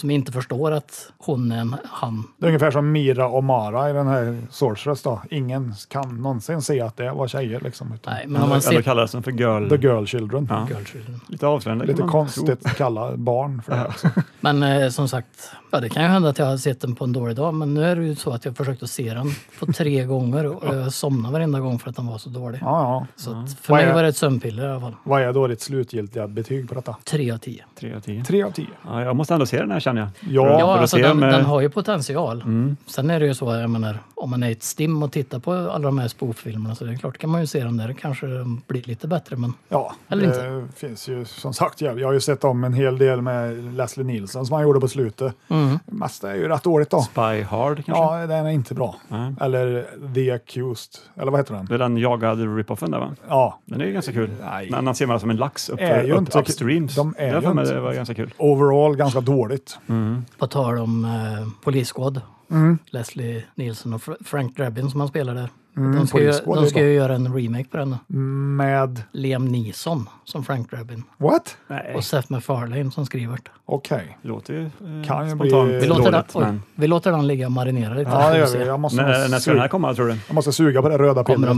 Speaker 3: som inte förstår att hon är en han.
Speaker 2: Det är ungefär som Mira och Mara i den här Sorceress då. Ingen kan någonsin se att det var tjejer liksom. Utan
Speaker 3: Nej, men om man
Speaker 4: Eller
Speaker 3: ser...
Speaker 4: kallas den för girl.
Speaker 2: The girl children.
Speaker 4: Ja. Lite avslöjande. kan
Speaker 2: Lite
Speaker 4: man tro.
Speaker 2: konstigt att kalla barn för det. liksom. också.
Speaker 3: Men eh, som sagt, ja, det kan ju hända att jag har sett den på en dålig dag, men nu är det ju så att jag försökt att se den på tre gånger och jag somnade varenda gång för att den var så dålig.
Speaker 2: Ja, ja.
Speaker 3: Så att för
Speaker 2: Vad är-
Speaker 3: mig var det ett sömnpiller i alla fall.
Speaker 2: Vad är då ditt slutgiltiga betyg på detta?
Speaker 3: Tre av tio.
Speaker 4: Tre av tio.
Speaker 2: Tre av tio.
Speaker 4: Ja, jag måste ändå se den här känner jag.
Speaker 2: Ja,
Speaker 4: för
Speaker 3: Ja,
Speaker 4: att
Speaker 3: alltså
Speaker 4: se Mm.
Speaker 3: den,
Speaker 4: om, eh,
Speaker 3: den har ju potential. Sen är det ju så, jag menar, om man är i ett stim och tittar på alla de här spoof-filmerna så det är klart kan man ju se dem där. Kanske de blir lite bättre, men
Speaker 2: Ja,
Speaker 3: Eller
Speaker 2: det finns ju som sagt. Jag, jag har ju sett om en hel del med Leslie Nielsen som han gjorde på slutet. Mm. Mesta är ju rätt dåligt då.
Speaker 4: Spy Hard kanske?
Speaker 2: Ja, den är inte bra.
Speaker 4: Nej.
Speaker 2: Eller The Accused, eller vad heter den?
Speaker 4: Det är den jagade ripoffen där va?
Speaker 2: Ja,
Speaker 4: Den är ju ganska kul.
Speaker 2: Nej.
Speaker 4: Men han ser man som en lax upp,
Speaker 2: Är ju
Speaker 4: upp,
Speaker 2: inte-
Speaker 4: upstreams.
Speaker 2: de är
Speaker 4: Det har jag för
Speaker 2: ju
Speaker 4: mig
Speaker 2: inte-
Speaker 4: det var ganska kul.
Speaker 2: overall ganska dåligt.
Speaker 3: på tal om eh, polisskåd,
Speaker 2: Mm.
Speaker 3: Leslie Nielsen och Fra- Frank Drabin som han spelar där. de ska, ju,
Speaker 2: Police Squad Mm, är
Speaker 3: de ska
Speaker 2: bra.
Speaker 3: ju göra en remake på den.
Speaker 2: Med
Speaker 3: Liam Neeson som Frank Drabin
Speaker 2: what?
Speaker 4: Nej,
Speaker 3: och Seth MacFarlane som skriver det.
Speaker 2: Okej.
Speaker 4: det låter ju eh,
Speaker 2: Kan ju bli-
Speaker 4: spontant
Speaker 2: Vi
Speaker 3: Vi
Speaker 2: är
Speaker 3: låter, den,
Speaker 4: dåligt.
Speaker 3: oj,
Speaker 4: Men
Speaker 3: vi låter den ligga och marinera lite.
Speaker 2: Ja, det
Speaker 3: Får
Speaker 2: gör
Speaker 3: vi se.
Speaker 2: vi. Jag måste,
Speaker 4: när, när ska den här
Speaker 2: suga,
Speaker 4: komma tror du?
Speaker 2: jag måste suga på det röda
Speaker 3: Kommer
Speaker 2: pillret.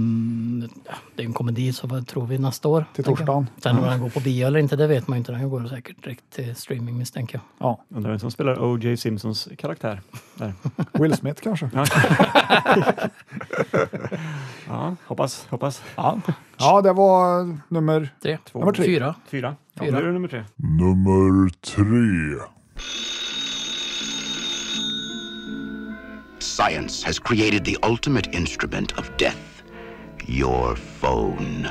Speaker 3: de... ja, Det är en komedi, så vad tror vi nästa år?
Speaker 2: Till
Speaker 3: tänker jag.
Speaker 2: torsdagen.
Speaker 3: Sen om den går på bio eller inte, det vet man ju inte. Den går säkert direkt till streaming misstänker jag.
Speaker 2: Ja.
Speaker 4: Undrar vem som spelar O.J. Simpsons karaktär. Där.
Speaker 2: Will Smith kanske?
Speaker 4: Ja, Hoppas, hoppas.
Speaker 2: Ja. ja, det var nummer...
Speaker 3: Tre,
Speaker 4: Två.
Speaker 2: Nummer tre.
Speaker 3: fyra.
Speaker 4: Fyra. Ja,
Speaker 3: Fyra.
Speaker 4: nu är det nummer tre.
Speaker 5: Nummer tre.
Speaker 11: Science has created the ultimate instrument of death your phone.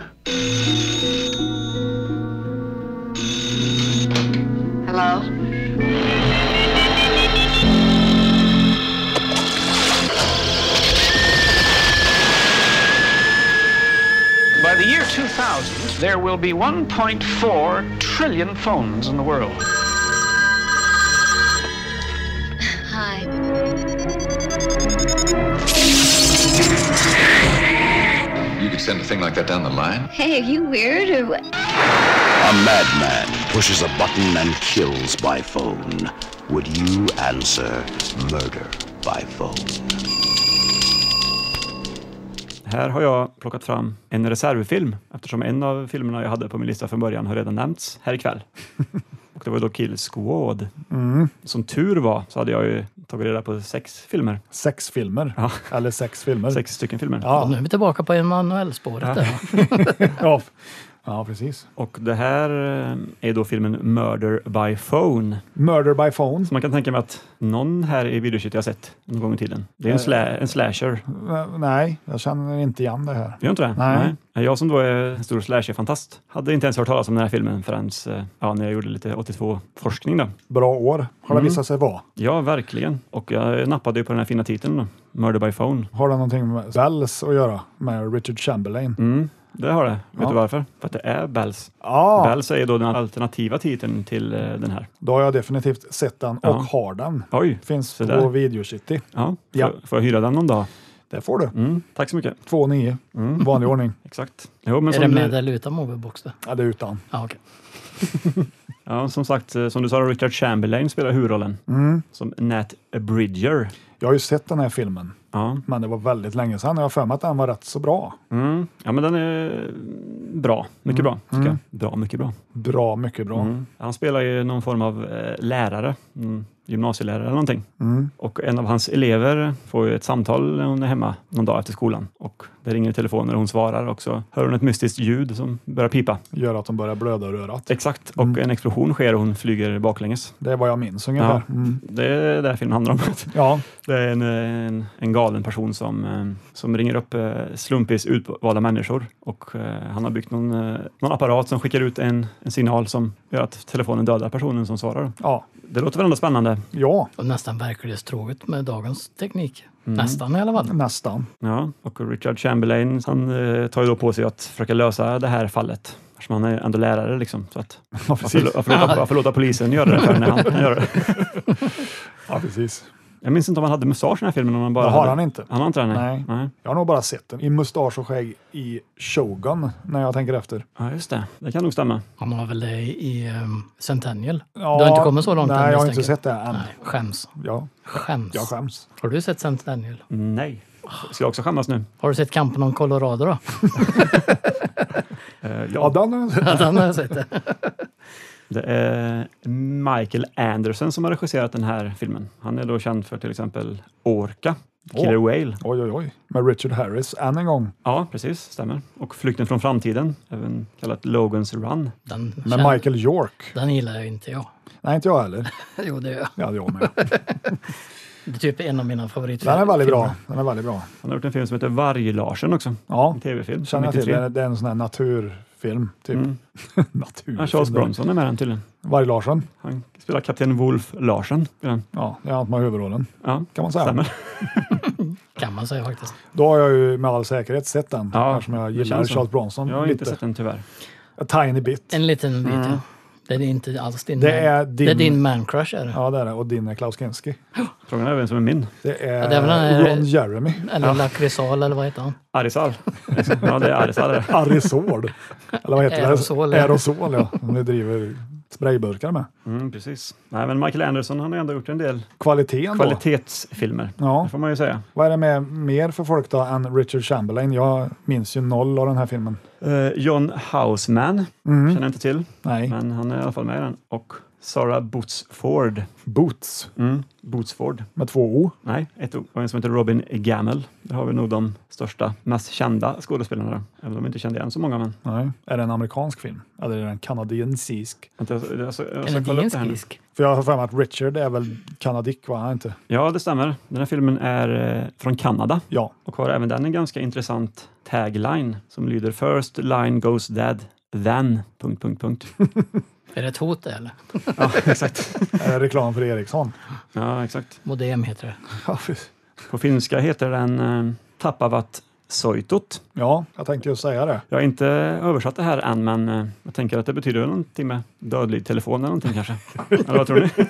Speaker 8: Hello?
Speaker 7: By the year 2000, there will be 1.4 trillion phones in the world.
Speaker 9: You could send a thing like that down the line.
Speaker 12: Hey, are you weird or what?
Speaker 11: A madman pushes a button and kills by phone. Would you answer murder by phone?
Speaker 4: Här har jag plockat fram en reservfilm eftersom en av filmerna jag hade på min lista från början har redan nämnts här ikväll. Och det var då Kill Squad.
Speaker 2: Mm.
Speaker 4: Som tur var så hade jag ju tagit reda på sex filmer.
Speaker 2: Sex filmer. Eller sex filmer.
Speaker 4: Sex stycken filmer.
Speaker 3: Och nu är vi tillbaka på Emanuel-spåret. där.
Speaker 2: ja. ja, precis.
Speaker 4: Och det här eh, är då filmen Murder by Phone.
Speaker 2: Murder by phone.
Speaker 4: Så man kan tänka mig att någon här i videokittet har sett någon gång i tiden. Det är en, slä, en slasher.
Speaker 2: Eh, Nej, jag känner inte igen det här.
Speaker 4: Gör inte det?
Speaker 2: Nej.
Speaker 4: Jag som då är en stor slasher-fantast hade inte ens hört talas om den här filmen förrän eh, ja, när jag gjorde lite 82-forskning. då.
Speaker 2: Bra år har det
Speaker 4: Mm.
Speaker 2: visat sig vara.
Speaker 4: Ja, verkligen. Och jag nappade ju på den här fina titeln då. Murder by Phone.
Speaker 2: Har det någonting med Bells att göra? Med Richard Chamberlain?
Speaker 4: Mm, det har det. Vet
Speaker 2: Ja.
Speaker 4: du varför? För att det är Bells.
Speaker 2: Ja,
Speaker 4: Bells är ju då den alternativa titeln till eh, den här.
Speaker 2: då har jag definitivt sett den och
Speaker 4: Ja.
Speaker 2: har den.
Speaker 4: Oj!
Speaker 2: Finns
Speaker 4: Så
Speaker 2: på
Speaker 4: där.
Speaker 2: Video City.
Speaker 4: Ja, får,
Speaker 2: Ja.
Speaker 4: får jag hyra den någon dag?
Speaker 2: Det får du.
Speaker 4: Mm, tack så mycket.
Speaker 2: 2,9.
Speaker 4: Mm.
Speaker 2: Vanlig ordning.
Speaker 4: Exakt. Jo, men
Speaker 3: Är
Speaker 4: som
Speaker 3: det
Speaker 4: du-
Speaker 3: med eller utan moviebox? då?
Speaker 2: Ja, det är utan.
Speaker 3: Ja, okej.
Speaker 4: Ja, som sagt, eh, som du sa, Richard Chamberlain spelar huvudrollen
Speaker 2: Mm.
Speaker 4: som Nat Bridger.
Speaker 2: Jag har ju sett den här filmen,
Speaker 4: Ja.
Speaker 2: men det var väldigt länge sedan. och Jag har för mig att den var rätt så bra.
Speaker 4: Mm. ja, men den är bra. Mycket bra, tycker
Speaker 2: Mm.
Speaker 4: jag. Bra, mycket bra.
Speaker 2: Bra, mycket bra.
Speaker 4: Mm. Han spelar ju någon form av eh, lärare, mm, gymnasielärare eller någonting.
Speaker 2: Mm.
Speaker 4: Och en av hans elever får ju ett samtal när hon är hemma någon dag efter skolan. Och det ringer i telefonen och hon svarar och så hör hon ett mystiskt ljud som börjar pipa.
Speaker 2: Gör att de börjar blöda ur örat.
Speaker 4: Exakt, och
Speaker 2: Mm.
Speaker 4: en explosion sker och hon flyger baklänges.
Speaker 2: Det är vad jag minns ungefär. Ja. Mm.
Speaker 4: Det är det här filmen handlar om.
Speaker 2: ja.
Speaker 4: Det är en, eh, en, en galen person som, eh, som ringer upp eh, slumpvis utvalda människor och eh, han har byggt någon, eh, någon apparat som skickar ut en, en signal som gör att telefonen dödar personen som svarar.
Speaker 2: Ja.
Speaker 4: Det låter väl ändå spännande?
Speaker 2: ja,
Speaker 3: Och nästan verklighetstroget med dagens teknik. Nästan i alla fall.
Speaker 2: nästan.
Speaker 4: Ja, och Richard Chamberlain han eh, tar ju då på sig att försöka lösa det här fallet. Eftersom han är ändå lärare liksom. Så att, varför,
Speaker 2: precis.
Speaker 4: varför, låta, varför låta polisen göra det för när han kan göra det?
Speaker 2: Ja, precis.
Speaker 4: Jag minns inte om han hade mustasch i den här filmen. Om han bara
Speaker 2: Det har
Speaker 4: hade-
Speaker 2: han inte.
Speaker 4: Han har inte det?
Speaker 2: Nej.
Speaker 4: Nej. nej.
Speaker 2: Jag har nog bara sett den i mustasch och skägg i Shogun när jag tänker efter.
Speaker 4: Ja, just det. Det kan nog stämma.
Speaker 3: Han har väl det i ehm, Centennial?
Speaker 2: Ja,
Speaker 3: du har inte kommit så långt
Speaker 2: Nej,
Speaker 3: än,
Speaker 2: jag har
Speaker 3: misstänker
Speaker 2: inte sett det än.
Speaker 3: Nej, skäms.
Speaker 2: Ja,
Speaker 3: Skäms.
Speaker 2: jag skäms.
Speaker 3: Har du sett Centennial?
Speaker 4: Nej. Ska jag också skämmas nu?
Speaker 3: Har du sett Kampen om Colorado då?
Speaker 4: Eh,
Speaker 2: Ja,
Speaker 4: ja,
Speaker 2: den har jag sett.
Speaker 3: Den har jag sett.
Speaker 4: det är Michael Anderson som har regisserat den här filmen. Han är då känd för till exempel Orca, Killer
Speaker 2: Åh.
Speaker 4: Whale.
Speaker 2: Oj, oj, oj. Med Richard Harris än en gång.
Speaker 4: Ja, precis. Stämmer. Och Flykten från framtiden, även kallat Logans Run.
Speaker 3: Den,
Speaker 2: Med
Speaker 3: känner-
Speaker 2: Michael York.
Speaker 3: den gillar jag inte jag.
Speaker 2: Nej, inte jag heller.
Speaker 3: Jo, det gör jag.
Speaker 2: Ja, det är jag med.
Speaker 3: Det är typ en av mina favoritfilmer.
Speaker 2: Den är väldigt bra. Den är väldigt bra.
Speaker 4: Han har gjort en film som heter Varg-Larsen också.
Speaker 2: Ja,
Speaker 4: En tv-film.
Speaker 2: känner jag till. Det
Speaker 4: 93.
Speaker 2: är- Det är en sån här naturfilm, typ.
Speaker 4: Mm. Ja,
Speaker 2: naturfilm.
Speaker 4: Charles Bronson är med i den tydligen.
Speaker 2: Varg Larsson.
Speaker 4: Han spelar kapten Wolf Larsen. i den.
Speaker 2: Ja, det är han som har huvudrollen,
Speaker 4: Ja,
Speaker 2: kan man säga.
Speaker 4: stämmer.
Speaker 3: Kan man säga faktiskt.
Speaker 2: Då har jag ju med all säkerhet sett den,
Speaker 4: Ja,
Speaker 2: eftersom jag
Speaker 4: det
Speaker 2: gillar
Speaker 4: känns så.
Speaker 2: Charles Bronson
Speaker 4: Jag har inte
Speaker 2: lite.
Speaker 4: sett den tyvärr.
Speaker 2: A tiny bit.
Speaker 3: En liten bit, ja. Det är inte alls din...
Speaker 2: Mm. Det
Speaker 3: man-
Speaker 2: är din-
Speaker 3: Det är din man-crush, är det.
Speaker 2: Ja, det är det. Och din är Klaus Kinski.
Speaker 4: Frågan är vem som är min.
Speaker 2: Det är,
Speaker 3: Ja, det är väl den här-
Speaker 2: Ron Jeremy.
Speaker 3: Eller Lakritsal, eller vad heter han?
Speaker 4: Arisal. Ja, det är Arisal. det.
Speaker 2: Arisol. Eller vad heter
Speaker 3: Aerosol,
Speaker 2: det?
Speaker 3: ja.
Speaker 2: Aerosol. ja. Som vi driver sprayburkar med.
Speaker 4: Mm, precis. Nej, men Michael Anderson han har ändå gjort en del
Speaker 2: Kvaliteten då?
Speaker 4: kvalitetsfilmer.
Speaker 2: Ja.
Speaker 4: Det får man ju säga.
Speaker 2: Vad är det med mer för folk då än Richard Chamberlain? Jag minns ju noll av den här filmen.
Speaker 4: Eh, John Houseman
Speaker 2: Mm.
Speaker 4: känner jag inte till,
Speaker 2: Nej.
Speaker 4: men han är i alla fall med i den. Och Sarah Bootsford.
Speaker 2: Boots?
Speaker 4: Mm, Bootsford.
Speaker 2: Med två O?
Speaker 4: Nej, ett O. Och en som heter Robin Gamel. Där har vi nog de största, mest kända skådespelarna. då. Även om vi inte kände igen så många. Men...
Speaker 2: Nej. Är det en amerikansk film? Eller är den kanadensisk?
Speaker 4: Vänta, jag- jag- jag- jag ska kolla upp det här nu.
Speaker 2: För jag har för mig att Richard är väl kanadick, va? Han är inte?
Speaker 4: Ja, det stämmer. Den här filmen är eh, från Kanada
Speaker 2: Ja.
Speaker 4: och har även den en ganska intressant tagline som lyder First line goes dead, then... Punkt, punkt, punkt.
Speaker 3: Är det ett hot det, eller?
Speaker 4: Ja, exakt.
Speaker 2: Är det reklam för Ericsson?
Speaker 4: Ja, exakt.
Speaker 3: Modem heter det.
Speaker 2: Ja, precis.
Speaker 4: På finska heter den eh, Tappavat soitot.
Speaker 2: ja, jag tänkte just säga det.
Speaker 4: Jag har inte översatt det här än, men eh, jag tänker att det betyder någonting med dödlig telefon eller någonting kanske. Eller vad tror ni?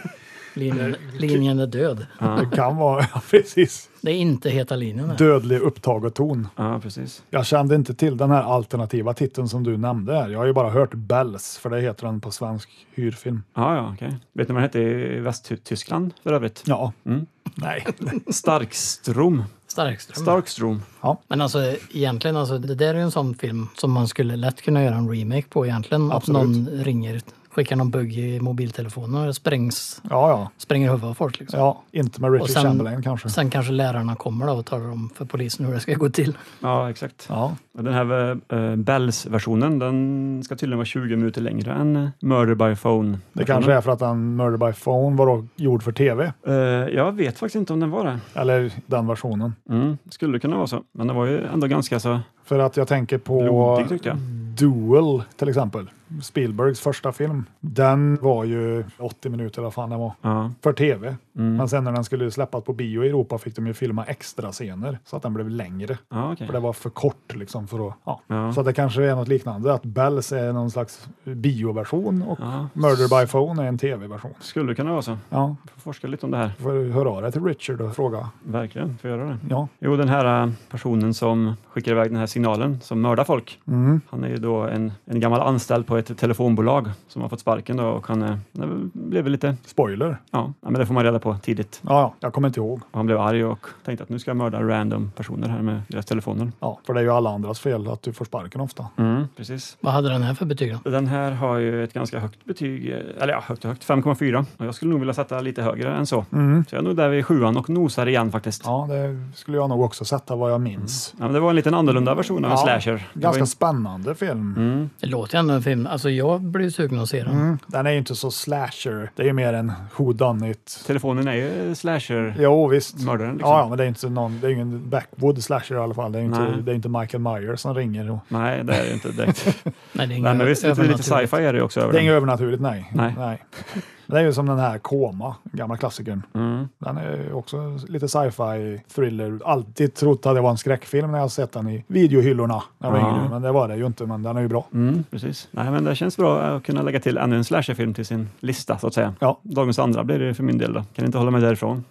Speaker 3: Linjen, linjen är död.
Speaker 4: Ja,
Speaker 2: Det kan vara, ja, precis.
Speaker 3: Det är inte heta linjen. det.
Speaker 2: Dödlig upptageton.
Speaker 4: ja precis.
Speaker 2: Jag kände inte till den här alternativa titeln som du nämnde. här. Jag har ju bara hört Bells, för det heter den på svensk hyrfilm.
Speaker 4: Ja, ja, okej. Vet ni vad den hette i Västtyskland för övrigt?
Speaker 2: Ja.
Speaker 4: Mm.
Speaker 2: Nej.
Speaker 4: Starkstrom.
Speaker 3: Starkström.
Speaker 4: Starkstrom.
Speaker 3: Men alltså egentligen, alltså, det där är ju en sån film som man skulle lätt kunna göra en remake på egentligen.
Speaker 2: Absolut.
Speaker 3: Att någon ringer, skickar någon bugg i mobiltelefonen och sprängs,
Speaker 2: Ja, ja.
Speaker 3: spränger huvudet av folk. Liksom.
Speaker 2: Ja, inte med Richard
Speaker 3: Och sen-
Speaker 2: Chamberlain kanske.
Speaker 3: Sen kanske lärarna kommer då och talar om för polisen hur det ska gå till.
Speaker 4: Ja, exakt.
Speaker 2: Ja,
Speaker 4: Och Den här eh, Bells-versionen, den ska tydligen vara 20 minuter längre än eh, Murder by Phone.
Speaker 2: det kanske är för att den Murder by Phone var då gjord för tv,
Speaker 4: Eh, jag vet faktiskt inte om den var det.
Speaker 2: eller den versionen.
Speaker 4: Mm, skulle kunna vara så, men den var ju ändå ganska så
Speaker 2: För att jag tänker på
Speaker 4: blodig tyckte jag.
Speaker 2: Duel till exempel, Spielbergs första film. Den var ju 80 minuter, vad fan den var,
Speaker 4: Ja,
Speaker 2: för tv.
Speaker 4: Mm.
Speaker 2: Men sen när den skulle släppas på bio i Europa fick de ju filma extra scener så att den blev längre.
Speaker 4: ja okej.
Speaker 2: För det var för kort liksom för att, ja.
Speaker 4: Ja.
Speaker 2: Så att det kanske är något liknande, att Bells är någon slags bioversion och
Speaker 4: Ja,
Speaker 2: Murder by Phone är en tv-version.
Speaker 4: skulle kunna vara så.
Speaker 2: Ja,
Speaker 4: Får forska lite om det här.
Speaker 2: får du höra av dig till Richard och fråga.
Speaker 4: Verkligen, får göra det.
Speaker 2: Ja.
Speaker 4: Jo, den här eh, personen som skickar iväg den här signalen, som mördar folk.
Speaker 2: Mm.
Speaker 4: Han är ju då en, en gammal anställd på ett telefonbolag som har fått sparken då och han, eh, han är- blev väl lite,
Speaker 2: Spoiler.
Speaker 4: ja, ja, men det får man reda på tidigt.
Speaker 2: Ja, ja, jag kommer inte ihåg.
Speaker 4: Och han blev arg och tänkte att nu ska jag mörda random personer här med deras telefoner.
Speaker 2: Ja, för det är ju alla andras fel att du får sparken ofta.
Speaker 4: Mm, precis.
Speaker 3: Vad hade den här för betyg då?
Speaker 4: Den här har ju ett ganska högt betyg, eh, eller ja, högt och högt, 5,4. Och jag skulle nog vilja sätta lite högre än så.
Speaker 2: Mm.
Speaker 4: Så jag är nog där vid sjuan och nosar igen faktiskt. Ja.
Speaker 2: Ja, det skulle jag nog också sätta vad jag minns.
Speaker 4: men det var en liten annorlunda version av en
Speaker 2: Ja,
Speaker 4: Mm. slasher. Det var
Speaker 2: Ganska
Speaker 4: ju-
Speaker 2: spännande film.
Speaker 4: Mm,
Speaker 3: Det låter ju ändå en film. Alltså jag blir ju sugen att se den.
Speaker 2: Mm. Den är ju inte så slasher. Det är ju mer en who done it.
Speaker 4: telefonen är ju slasher.
Speaker 2: Jo, visst.
Speaker 4: Typ. Mördaren, liksom.
Speaker 2: Ja, ja, men det är inte någon, det är ingen backwood slasher i alla fall. Det är ju inte,
Speaker 4: Nej.
Speaker 2: det är inte Michael Myers som ringer. Och,
Speaker 4: Nej, det är det inte direkt.
Speaker 3: Nej, det är
Speaker 4: Nej, men visst, lite, lite
Speaker 3: övernaturligt.
Speaker 4: sci-fi är det ju också över
Speaker 2: det är
Speaker 4: den.
Speaker 2: inget övernaturligt, nej.
Speaker 4: Nej.
Speaker 2: Men Det är ju som den här Koma, gamla klassikern.
Speaker 4: Mm.
Speaker 2: Den är ju också lite sci-fi thriller. Alltid trott att det var en skräckfilm när jag sett den i videohyllorna när jag var
Speaker 4: Ja.
Speaker 2: yngre, men det var det ju inte. Men den är ju bra.
Speaker 4: Mm, precis. Nej, men det känns bra att kunna lägga till ännu en slasherfilm till sin lista, så att säga.
Speaker 2: Ja.
Speaker 4: Dagens andra blir det för min del då. Kan inte hålla mig därifrån.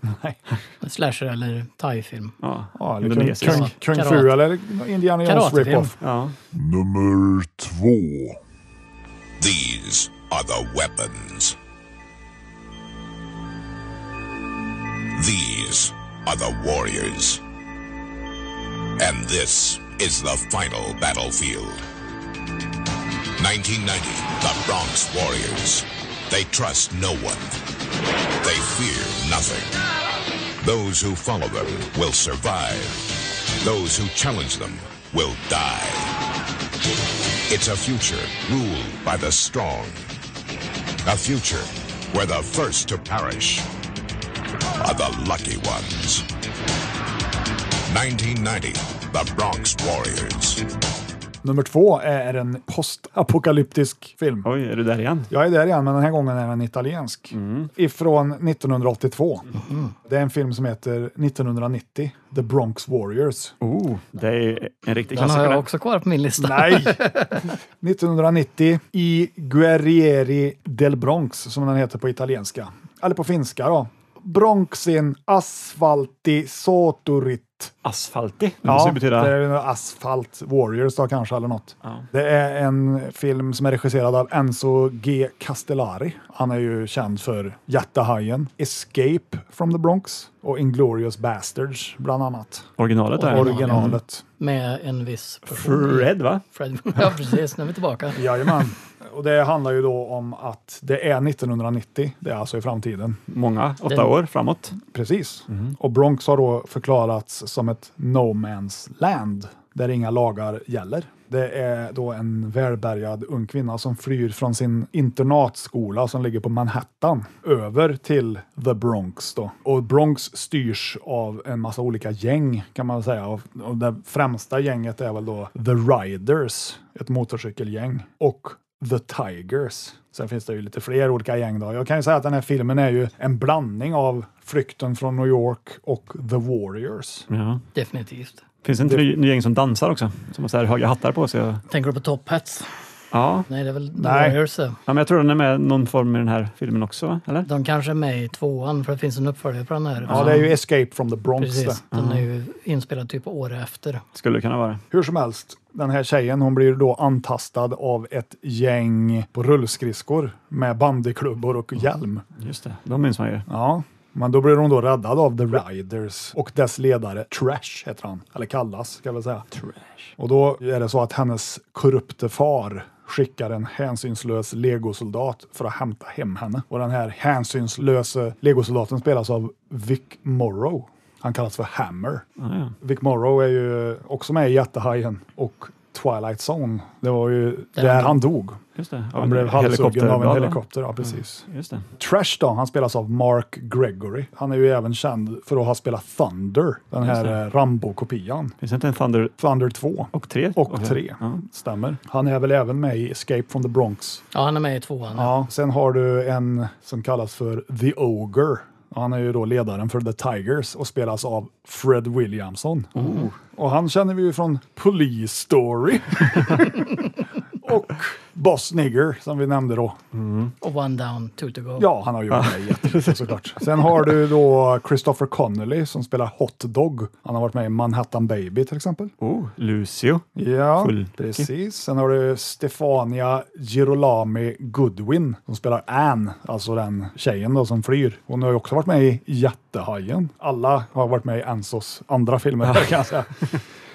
Speaker 3: Slasher eller thai-film.
Speaker 4: Ja,
Speaker 2: Ja, eller kung,
Speaker 4: Indonesisk.
Speaker 2: kung, kung Fu
Speaker 3: Karate.
Speaker 2: eller Indiana Jones
Speaker 3: Karatefilm.
Speaker 2: rip-off.
Speaker 4: Ja,
Speaker 5: Nummer två.
Speaker 11: These are the weapons. These are the warriors. And this is the final battlefield. 1990, the Bronx Warriors. They trust no one. They fear nothing. Those who follow them will survive. Those who challenge them will die. It's a future ruled by the strong. A future where the first to perish are the lucky ones. 1990, The Bronx Warriors.
Speaker 2: Nummer två är en postapokalyptisk film.
Speaker 4: oj, är du där igen?
Speaker 2: Jag är där igen, men den här gången är den italiensk. Ifrån 1982. Det är en film som heter 1990, The Bronx Warriors.
Speaker 4: Oh, det är en riktig
Speaker 3: Den har
Speaker 4: klassiker.
Speaker 3: jag
Speaker 4: det.
Speaker 3: också kvar på min lista.
Speaker 2: Nej! 1990 i Guerrieri del Bronx, som den heter på italienska. Eller på finska då. Bronxin asfalti soturit.
Speaker 4: Asfaltig. Det måste ju betyda...
Speaker 2: det är ju Asphalt Warriors då kanske, eller något.
Speaker 4: Ja.
Speaker 2: Det är en film som är regisserad av Enzo G. Castellari. Han är ju känd för Jättehajen, Escape from the Bronx och Inglorious Bastards, bland annat.
Speaker 4: Originalet där.
Speaker 2: Originalet.
Speaker 3: Med en viss person.
Speaker 4: Fred, va?
Speaker 3: Fred. Ja, precis. Nu är vi tillbaka.
Speaker 2: Jajamän. Och det handlar ju då om att det är 1990, det är alltså i framtiden.
Speaker 4: Många, åtta år framåt.
Speaker 2: Precis. Och Bronx har då förklarats som ett no man's land, där inga lagar gäller. Det är då en välbärgad ung kvinna som flyr från sin internatskola som ligger på Manhattan över till The Bronx. Då. Och Bronx styrs av en massa olika gäng kan man säga. Och och det främsta gänget är väl då The Riders, ett motorcykelgäng, och The Tigers. Sen finns det ju lite fler olika gäng. Då. Jag kan ju säga att den här filmen är ju en blandning av Flykten från New York och The Warriors.
Speaker 4: Ja.
Speaker 3: Definitivt.
Speaker 4: Finns det inte ny, ny gäng som dansar också? Som har så här höga hattar på sig? och-
Speaker 3: Tänker du på Top Hats?
Speaker 4: Ja.
Speaker 3: Nej, det är väl The
Speaker 4: Nej.
Speaker 3: Warriors. det.
Speaker 4: ja men jag tror den är med i någon form i den här filmen också, va? eller?
Speaker 3: De kanske är med i tvåan, för det finns en uppföljare på den här.
Speaker 2: Ja, det är ju Escape from the Bronx.
Speaker 3: Precis,
Speaker 2: det.
Speaker 3: den är ju inspelad typ året efter.
Speaker 4: Skulle kunna vara.
Speaker 2: Hur som helst, den här tjejen hon blir då antastad av ett gäng på rullskridskor med bandyklubbor och hjälm.
Speaker 4: Just det, de minns man ju.
Speaker 2: Ja, men då blir hon då räddad av The Riders och dess ledare Trash heter han, eller kallas ska jag väl säga. Trash. Och då är det så att hennes korrupte far skickar en hänsynslös legosoldat för att hämta hem henne. Och den här hänsynslöse legosoldaten spelas av Vic Morrow. Han kallas för Hammer.
Speaker 4: Ja, ja.
Speaker 2: Vic Morrow är ju också med i Jättehajen och Twilight Zone. Det var ju
Speaker 3: Där
Speaker 2: där
Speaker 3: han
Speaker 2: han dog.
Speaker 4: Just det. Av
Speaker 2: Han
Speaker 4: en
Speaker 2: blev halshuggen av en
Speaker 4: helikopterblad, va?
Speaker 2: helikopter. Ja, precis.
Speaker 4: Just det.
Speaker 2: Trash då, han spelas av Mark Gregory. Han är ju även känd för att ha spelat Thunder, den
Speaker 4: Just
Speaker 2: här
Speaker 4: det.
Speaker 2: eh, Rambo-kopian.
Speaker 4: Finns det inte en Thunder
Speaker 2: Thunder 2
Speaker 4: och 3?
Speaker 2: och 3,
Speaker 4: Ja.
Speaker 2: stämmer. Han är väl även med i Escape from the Bronx.
Speaker 3: Ja, han är med i tvåan. Ja.
Speaker 2: Ja, sen har du en som kallas för The Ogre. Han är ju då ledaren för The Tigers och spelas av Fred Williamson. Och han känner vi ju från Police Story. och Boss Nigger, som vi nämnde då.
Speaker 3: Och One Down, Two To Go.
Speaker 2: Ja, han har gjort det jättemycket såklart. Sen har du då Christopher Connolly som spelar Hot Dog. Han har varit med i Manhattan Baby till exempel.
Speaker 4: Oh, Lucio.
Speaker 2: Ja,
Speaker 4: Full.
Speaker 2: precis. Sen har du Stefania Girolami Goodwin som spelar Ann, alltså den tjejen då som flyr. Hon har ju också varit med i Jättehajen. Alla har varit med i Ensos andra filmer kan jag säga.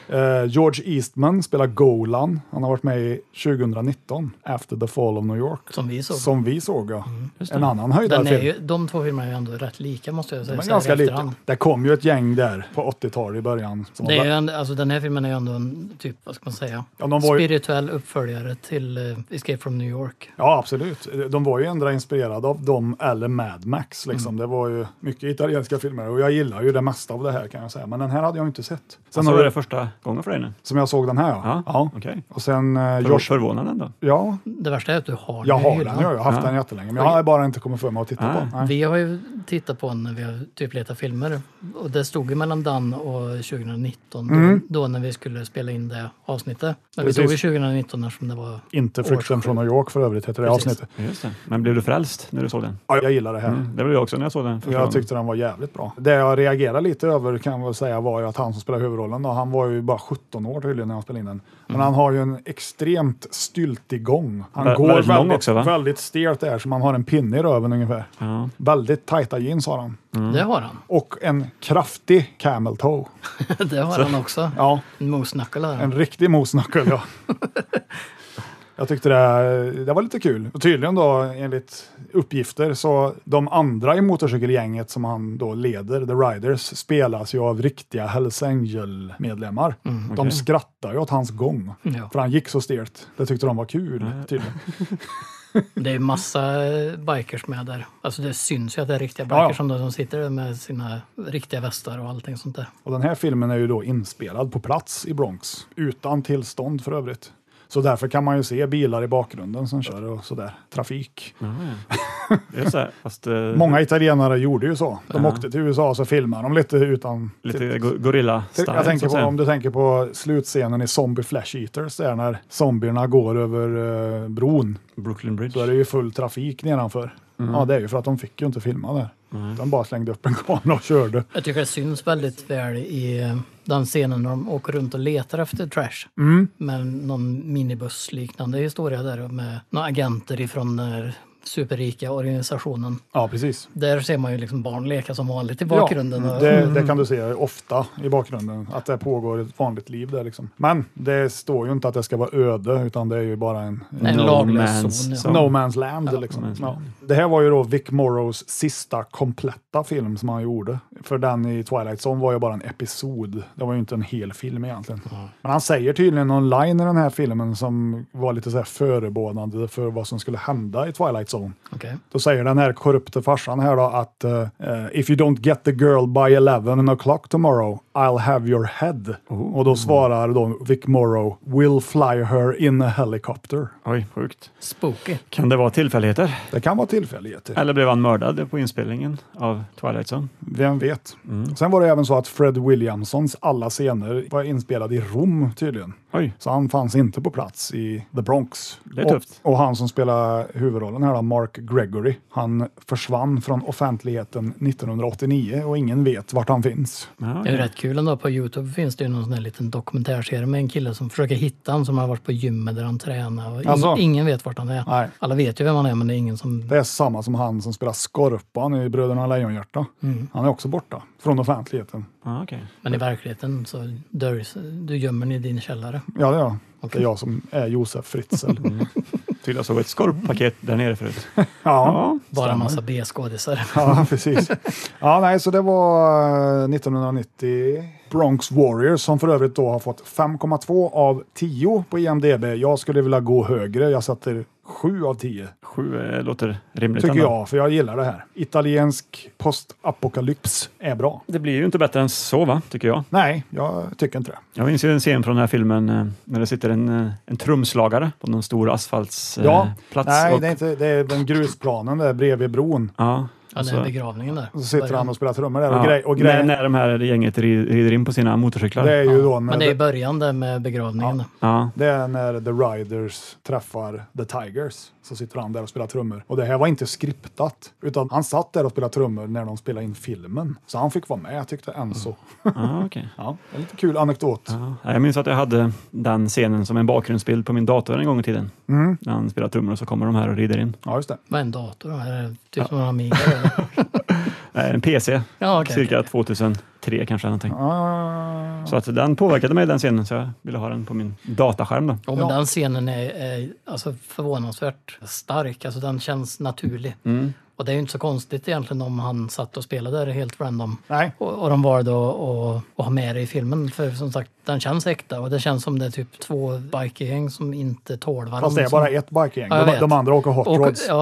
Speaker 2: Eh, George Eastman spelar Golan. Han har varit med i 2019, After the Fall of New York.
Speaker 3: Som vi såg. Mm,
Speaker 2: Som vi såg, ja. En annan höjdarfilm.
Speaker 3: Den är ju, de två filmerna är ju ändå rätt lika måste jag säga.
Speaker 2: De är
Speaker 3: så här
Speaker 2: ganska
Speaker 3: i efterhand.
Speaker 2: lika. Det kom ju ett gäng där på 80-talet i början. Som
Speaker 3: Det är
Speaker 2: var-
Speaker 3: ju en, alltså den här filmen är ju ändå en typ, vad ska man säga,
Speaker 2: Ja, de var ju-
Speaker 3: spirituell uppföljare till eh, Escape from New York.
Speaker 2: Ja, absolut. De var ju ändå inspirerade av dem eller Mad Max. Liksom.
Speaker 4: Mm.
Speaker 2: Det var ju mycket italienska filmer och jag gillar ju det mesta av det här kan jag säga. Men den här hade jag inte sett.
Speaker 4: Sen
Speaker 2: Sen
Speaker 4: såg
Speaker 2: har
Speaker 4: du Alltså, det
Speaker 2: du,
Speaker 4: första gången för dig nu?
Speaker 2: som jag såg den här ja.
Speaker 4: Ja,
Speaker 2: ja.
Speaker 4: okej.
Speaker 2: Och sen eh,
Speaker 4: För,
Speaker 2: Josh...
Speaker 4: Förvånande ändå.
Speaker 2: Ja,
Speaker 3: Det värsta är att du har
Speaker 2: jag
Speaker 3: den i
Speaker 2: har
Speaker 3: hyllan.
Speaker 2: den. Jag har haft
Speaker 4: Ja.
Speaker 2: den jättelänge. Men jag har bara inte kommit för mig att titta
Speaker 4: Ja.
Speaker 2: på. Nej.
Speaker 3: Vi har ju tittat på den när vi har typ letat filmer. Och det stod ju mellan den och 2019 då, då när vi skulle spela in det avsnittet. Men
Speaker 2: Mm. Precis.
Speaker 3: vi tog ju 2019 eftersom det var...
Speaker 2: Inte Flykten
Speaker 3: Årsjuk.
Speaker 2: från New York för övrigt heter det
Speaker 3: Precis.
Speaker 2: avsnittet.
Speaker 4: Just det. Men blev du frälst när du såg den?
Speaker 2: Ja, jag gillar det här.
Speaker 4: Det blev jag också när jag såg den första
Speaker 2: Jag
Speaker 4: gången.
Speaker 2: tyckte den var jävligt bra. Det jag reagerade lite över kan jag väl säga var ju att han som spelar huvudrollen, då, han var ju bara 17 år tydligen när han spelade in den. Men han har ju en extremt styltig gång. Han
Speaker 4: Mm. Vä-
Speaker 2: går
Speaker 4: väldigt
Speaker 2: väldigt,
Speaker 4: lång
Speaker 2: väldigt,
Speaker 4: också, va?
Speaker 2: stelt där, som han har en pinne i röven ungefär.
Speaker 4: Ja.
Speaker 2: Väldigt tajta jeans har han.
Speaker 3: Det har han.
Speaker 2: Och en kraftig camel toe.
Speaker 3: Det har han också.
Speaker 2: Ja,
Speaker 3: En mosnackel har
Speaker 2: en
Speaker 3: han.
Speaker 2: riktig mosnackel ja. Jag tyckte det, det var lite kul. Och tydligen då, enligt uppgifter, så de andra i motorcykelgänget som han då leder, The Riders, spelas ju av riktiga Hells Angel-medlemmar. De skrattar ju åt hans gång,
Speaker 3: Ja.
Speaker 2: för han gick så stelt. Det tyckte de var kul, tydligen.
Speaker 3: Det är ju massa eh, bikers med där. Alltså det syns ju att det är riktiga bikers
Speaker 2: Ja, ja.
Speaker 3: som de som sitter där med sina riktiga västar och allting sånt där.
Speaker 2: Och den här filmen är ju då inspelad på plats i Bronx, utan tillstånd för övrigt. Så därför kan man ju se bilar i bakgrunden som kör och sådär, trafik.
Speaker 4: Just det. Fast, eh,
Speaker 2: Många italienare gjorde ju så. De
Speaker 4: Ja.
Speaker 2: åkte till USA och så filmade de lite utan...
Speaker 4: Lite
Speaker 2: till-
Speaker 4: go- gorilla
Speaker 2: Till-
Speaker 4: style
Speaker 2: jag tänker på, om du tänker på slutscenen i Zombie Flash Eaters, där när zombierna går över eh, bron,
Speaker 4: Brooklyn Bridge.
Speaker 2: så är det ju full trafik nedanför.
Speaker 4: Mm.
Speaker 2: Ja, det är ju för att de fick ju inte filma där. De bara slängde upp en kamera och körde.
Speaker 3: Jag tycker det syns väldigt väl i eh, den scenen när de åker runt och letar efter Trash.
Speaker 2: Mm.
Speaker 3: Med någon minibuss liknande historia där med några agenter ifrån eh, superrika organisationen.
Speaker 2: Ja, precis.
Speaker 3: Där ser man ju liksom barn leka som vanligt i bakgrunden.
Speaker 2: Ja,
Speaker 3: och-
Speaker 2: det, det kan du se ofta i bakgrunden, att det pågår ett vanligt liv där. Liksom. Men det står ju inte att det ska vara öde, utan det är ju bara en,
Speaker 3: En No laglös man's zon, ja. zone.
Speaker 2: No man's land. liksom. Ja. Det här var ju då Vic Morrows sista kompletta film som han gjorde. För den i Twilight Zone var ju bara en episod. Det var ju inte en hel film egentligen. Men han säger tydligen någon line i den här filmen som var lite så här förebådande för vad som skulle hända i Twilight Zone.
Speaker 3: Okej.
Speaker 2: Då säger den här korrupte farsan här då att eh, eh, if you don't get the girl by 11 o'clock tomorrow I'll have your head. Och då svarar då Vic Morrow will fly her in a helicopter.
Speaker 4: Oj, sjukt.
Speaker 3: Spooky.
Speaker 4: Kan det vara tillfälligheter?
Speaker 2: Det kan vara tillfälligheter.
Speaker 4: Eller blev han mördad på inspelningen av Twilight Zone?
Speaker 2: Vem vet? Sen var det även så att Fred Williamsons alla scener var inspelade i Rom tydligen. Så han fanns inte på plats i The Bronx.
Speaker 4: Det är tufft.
Speaker 2: Och, och han som spelar huvudrollen här, då, Mark Gregory, han försvann från offentligheten 1989 och ingen vet vart han finns.
Speaker 3: Det är ju rätt kul ändå. På Youtube finns det ju någon sån här liten dokumentärserie med en kille som försöker hitta han som har varit på gymmet där han tränar. Och in-
Speaker 2: Alltså?
Speaker 3: Ingen vet vart han är.
Speaker 2: Nej.
Speaker 3: Alla vet ju vem han är men det är ingen som...
Speaker 2: Det är samma som han som spelar Skorpan i Bröderna Lejonhjärta.
Speaker 3: Mm.
Speaker 2: Han är också borta från offentligheten.
Speaker 4: Ah, okay.
Speaker 3: Men i verkligheten så döljs, du gömmer ni i din källare.
Speaker 2: Ja, det är jag. Det
Speaker 3: Okej.
Speaker 2: är jag som är Josef Fritzl.
Speaker 4: Till jag såg ett skorppaket där nere förut.
Speaker 2: Ja,
Speaker 3: Bara en
Speaker 2: stämmer.
Speaker 3: massa B-skådisar.
Speaker 2: Ja, precis. Ja, nej, så det var eh, 1990. Bronx Warriors som för övrigt då har fått 5,2 av 10 på E IMDB. Jag skulle vilja gå högre. Jag sätter 7 av 10,
Speaker 4: Sju eh, låter rimligt.
Speaker 2: tycker
Speaker 4: ändå.
Speaker 2: jag, för jag gillar det här. Italiensk postapokalyps är bra.
Speaker 4: Det blir ju inte bättre än så, va? tycker jag.
Speaker 2: Nej, jag tycker inte det.
Speaker 4: Jag minns ju en scen från den här filmen eh, när det sitter en, eh, en trumslagare på någon stor eh,
Speaker 2: Ja,
Speaker 4: asfaltsplats.
Speaker 2: nej, det är, inte, det är den grusplanen där bredvid bron.
Speaker 4: Ja,
Speaker 3: Ja, det är begravningen där.
Speaker 2: Alltså, Så sitter han och spelar trummor där.
Speaker 4: alltså, ja.
Speaker 2: Och grej, och
Speaker 4: när,
Speaker 2: grej,
Speaker 4: när de här gänget ri- rider in på sina motorcyklar.
Speaker 2: det är ju då när,
Speaker 3: Men det är i
Speaker 2: det,
Speaker 3: början där med begravningen.
Speaker 4: Ja.
Speaker 2: det är när The Riders träffar The Tigers. Så sitter han där och spelar trummor. Och det här var inte skriptat, utan han satt där och spelade trummor när de spelade in filmen. Så han fick vara med tyckte
Speaker 3: Mm.
Speaker 2: Enzo.
Speaker 4: Ah, okej.
Speaker 2: Ja, en lite kul anekdot.
Speaker 4: Ja, Jag minns att jag hade den scenen som en bakgrundsbild på min dator en gång i tiden.
Speaker 2: Mm.
Speaker 4: När han spelar trummor och så kommer de här och rider in.
Speaker 2: Ja, just det.
Speaker 3: Vad är en dator då? Är det typ som en Amiga? eller?
Speaker 4: Eh, En PC,
Speaker 3: Ja, okej.
Speaker 4: cirka 2003 kanske. Någonting.
Speaker 2: Ah,
Speaker 4: Så att den påverkade mig den scenen så jag ville ha den på min dataskärm. Då.
Speaker 3: Ja, men
Speaker 2: Ja.
Speaker 3: Den scenen är, är alltså förvånansvärt stark. Alltså den känns naturlig.
Speaker 2: Mm.
Speaker 3: Och det är ju inte så konstigt egentligen om han satt och spelade där helt random.
Speaker 2: nej.
Speaker 3: Och, och de valde att och, och ha med det i filmen. För som sagt, den känns äkta. Och det känns som det är typ två bikergäng som inte tål varandra.
Speaker 2: Fast det är bara ett bikergäng.
Speaker 3: Ja, jag
Speaker 2: De,
Speaker 3: vet.
Speaker 2: de andra åker hot
Speaker 3: Och-
Speaker 2: rods. Mm.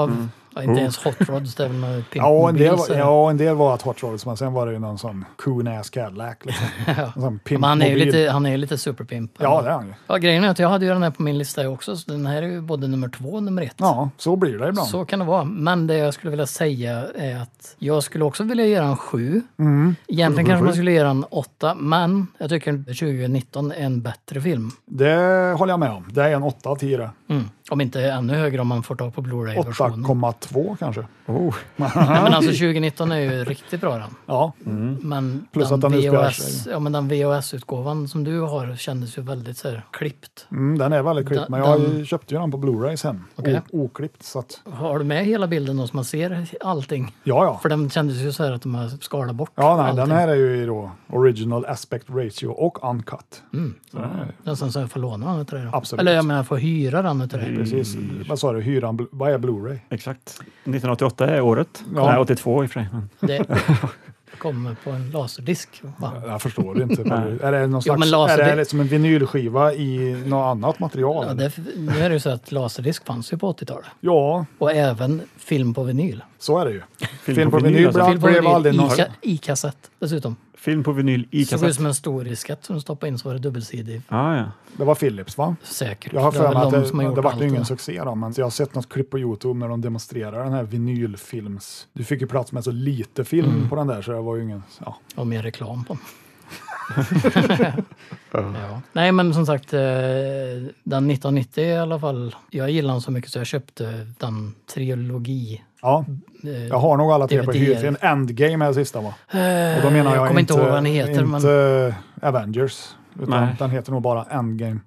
Speaker 3: Ja, ja, inte ens hot rods. Det är väl med
Speaker 2: Ja, en
Speaker 3: pimpmobil,
Speaker 2: del, var,
Speaker 3: så-
Speaker 2: ja, en del var att hot rods, men sen var det ju någon sån coon-ass Cadillac. Liksom. En sån
Speaker 3: Men han är ju
Speaker 2: pimpmobil.
Speaker 3: lite, han är ju lite superpimp.
Speaker 2: Ja, det är han ju.
Speaker 3: Ja, grejen är att jag hade ju den här på min lista också, så den här är ju både nummer två och nummer ett.
Speaker 2: Ja, så blir det ibland.
Speaker 3: Så kan det vara. Men det jag skulle vilja säga är att jag skulle också vilja göra en sju.
Speaker 2: Mm.
Speaker 3: Egentligen kanske man skulle göra en åtta, men jag tycker 2019 är en bättre film.
Speaker 2: Det håller jag med om. Det är en 8 av 10 det.
Speaker 3: Mm. Om inte ännu högre om man får tag på Blu-ray-versionen.
Speaker 2: 8,2 kanske.
Speaker 3: Nej, men alltså 2019 är ju riktigt bra den.
Speaker 2: Ja,
Speaker 3: Men
Speaker 2: Plus
Speaker 3: den
Speaker 2: att den utspelar
Speaker 3: VHS,
Speaker 2: sig.
Speaker 3: ja, men den VHS-utgåvan som du har kändes ju väldigt så här, klippt.
Speaker 2: mm, den är väldigt klippt,
Speaker 3: Den-
Speaker 2: men jag
Speaker 3: den-
Speaker 2: köpte ju den på Blu-ray sen.
Speaker 3: Okej.
Speaker 2: O- oklippt, så att
Speaker 3: Har du med hela bilden då så man ser allting?
Speaker 2: ja, ja.
Speaker 3: För den kändes ju så här att de har skalat bort
Speaker 2: Ja, nej,
Speaker 3: allting.
Speaker 2: den här är ju då original aspect ratio och uncut.
Speaker 3: Mm.
Speaker 2: Så den är,
Speaker 3: Nästan så jag får låna den till dig då.
Speaker 2: Absolut. Mm.
Speaker 3: Eller jag menar, jag får hyra den till dig.
Speaker 2: precis. Vad sa du, hyran, bl- vad är Blu-ray?
Speaker 4: Exakt. 1988 är året.
Speaker 2: Ja.
Speaker 4: Nej, 82 i och för sig. Men
Speaker 3: Det kommer på en laserdisk. Va?
Speaker 2: Jag förstår det inte. är det någon slags,
Speaker 3: men
Speaker 2: är
Speaker 3: laser-
Speaker 2: det liksom en vinylskiva i något annat material?
Speaker 3: Ja,
Speaker 2: eller?
Speaker 3: det, nu är det ju så att laserdisk fanns ju på 80-talet.
Speaker 2: ja
Speaker 3: Och även film på vinyl.
Speaker 2: så är det ju. Film,
Speaker 4: på
Speaker 2: på
Speaker 4: vinyl,
Speaker 2: vinyl
Speaker 4: alltså.
Speaker 2: bland-
Speaker 3: film på
Speaker 2: blev aldrig
Speaker 3: vinyl,
Speaker 2: någon...
Speaker 3: i, ka, i kassett dessutom.
Speaker 4: Film på vinyl i
Speaker 3: Det såg ut
Speaker 4: kassett.
Speaker 3: som en stor diskett som du stoppade in så var det dubbelsidig.
Speaker 4: Ah, ja.
Speaker 2: Det var Philips va?
Speaker 3: Säkert.
Speaker 2: Jag har
Speaker 3: Det
Speaker 2: för
Speaker 3: var
Speaker 2: mig
Speaker 3: väl
Speaker 2: att
Speaker 3: de
Speaker 2: det,
Speaker 3: som har gjort
Speaker 2: det vart
Speaker 3: allt
Speaker 2: ju ingen
Speaker 3: det.
Speaker 2: succé då, men jag har sett något klipp på Youtube när de demonstrerar den här vinylfilms... Du fick ju plats med så lite film
Speaker 3: Mm.
Speaker 2: på den där så det var ju ingen... Ja.
Speaker 3: Och mer reklam på. ja. Nej men som sagt, eh, den 1990 i alla fall. Jag gillar den så mycket så jag köpte den trilogi.
Speaker 2: ja.
Speaker 3: eh,
Speaker 2: Jag har nog alla tre på
Speaker 3: DVD.
Speaker 2: hyrfilm.
Speaker 3: Eh,
Speaker 2: Endgame är sista va? Och då menar jag,
Speaker 3: jag kommer inte ihåg vad den heter,
Speaker 2: Inte men... Avengers. Utan
Speaker 3: Nej. Mm.
Speaker 2: den heter nog bara Endgame.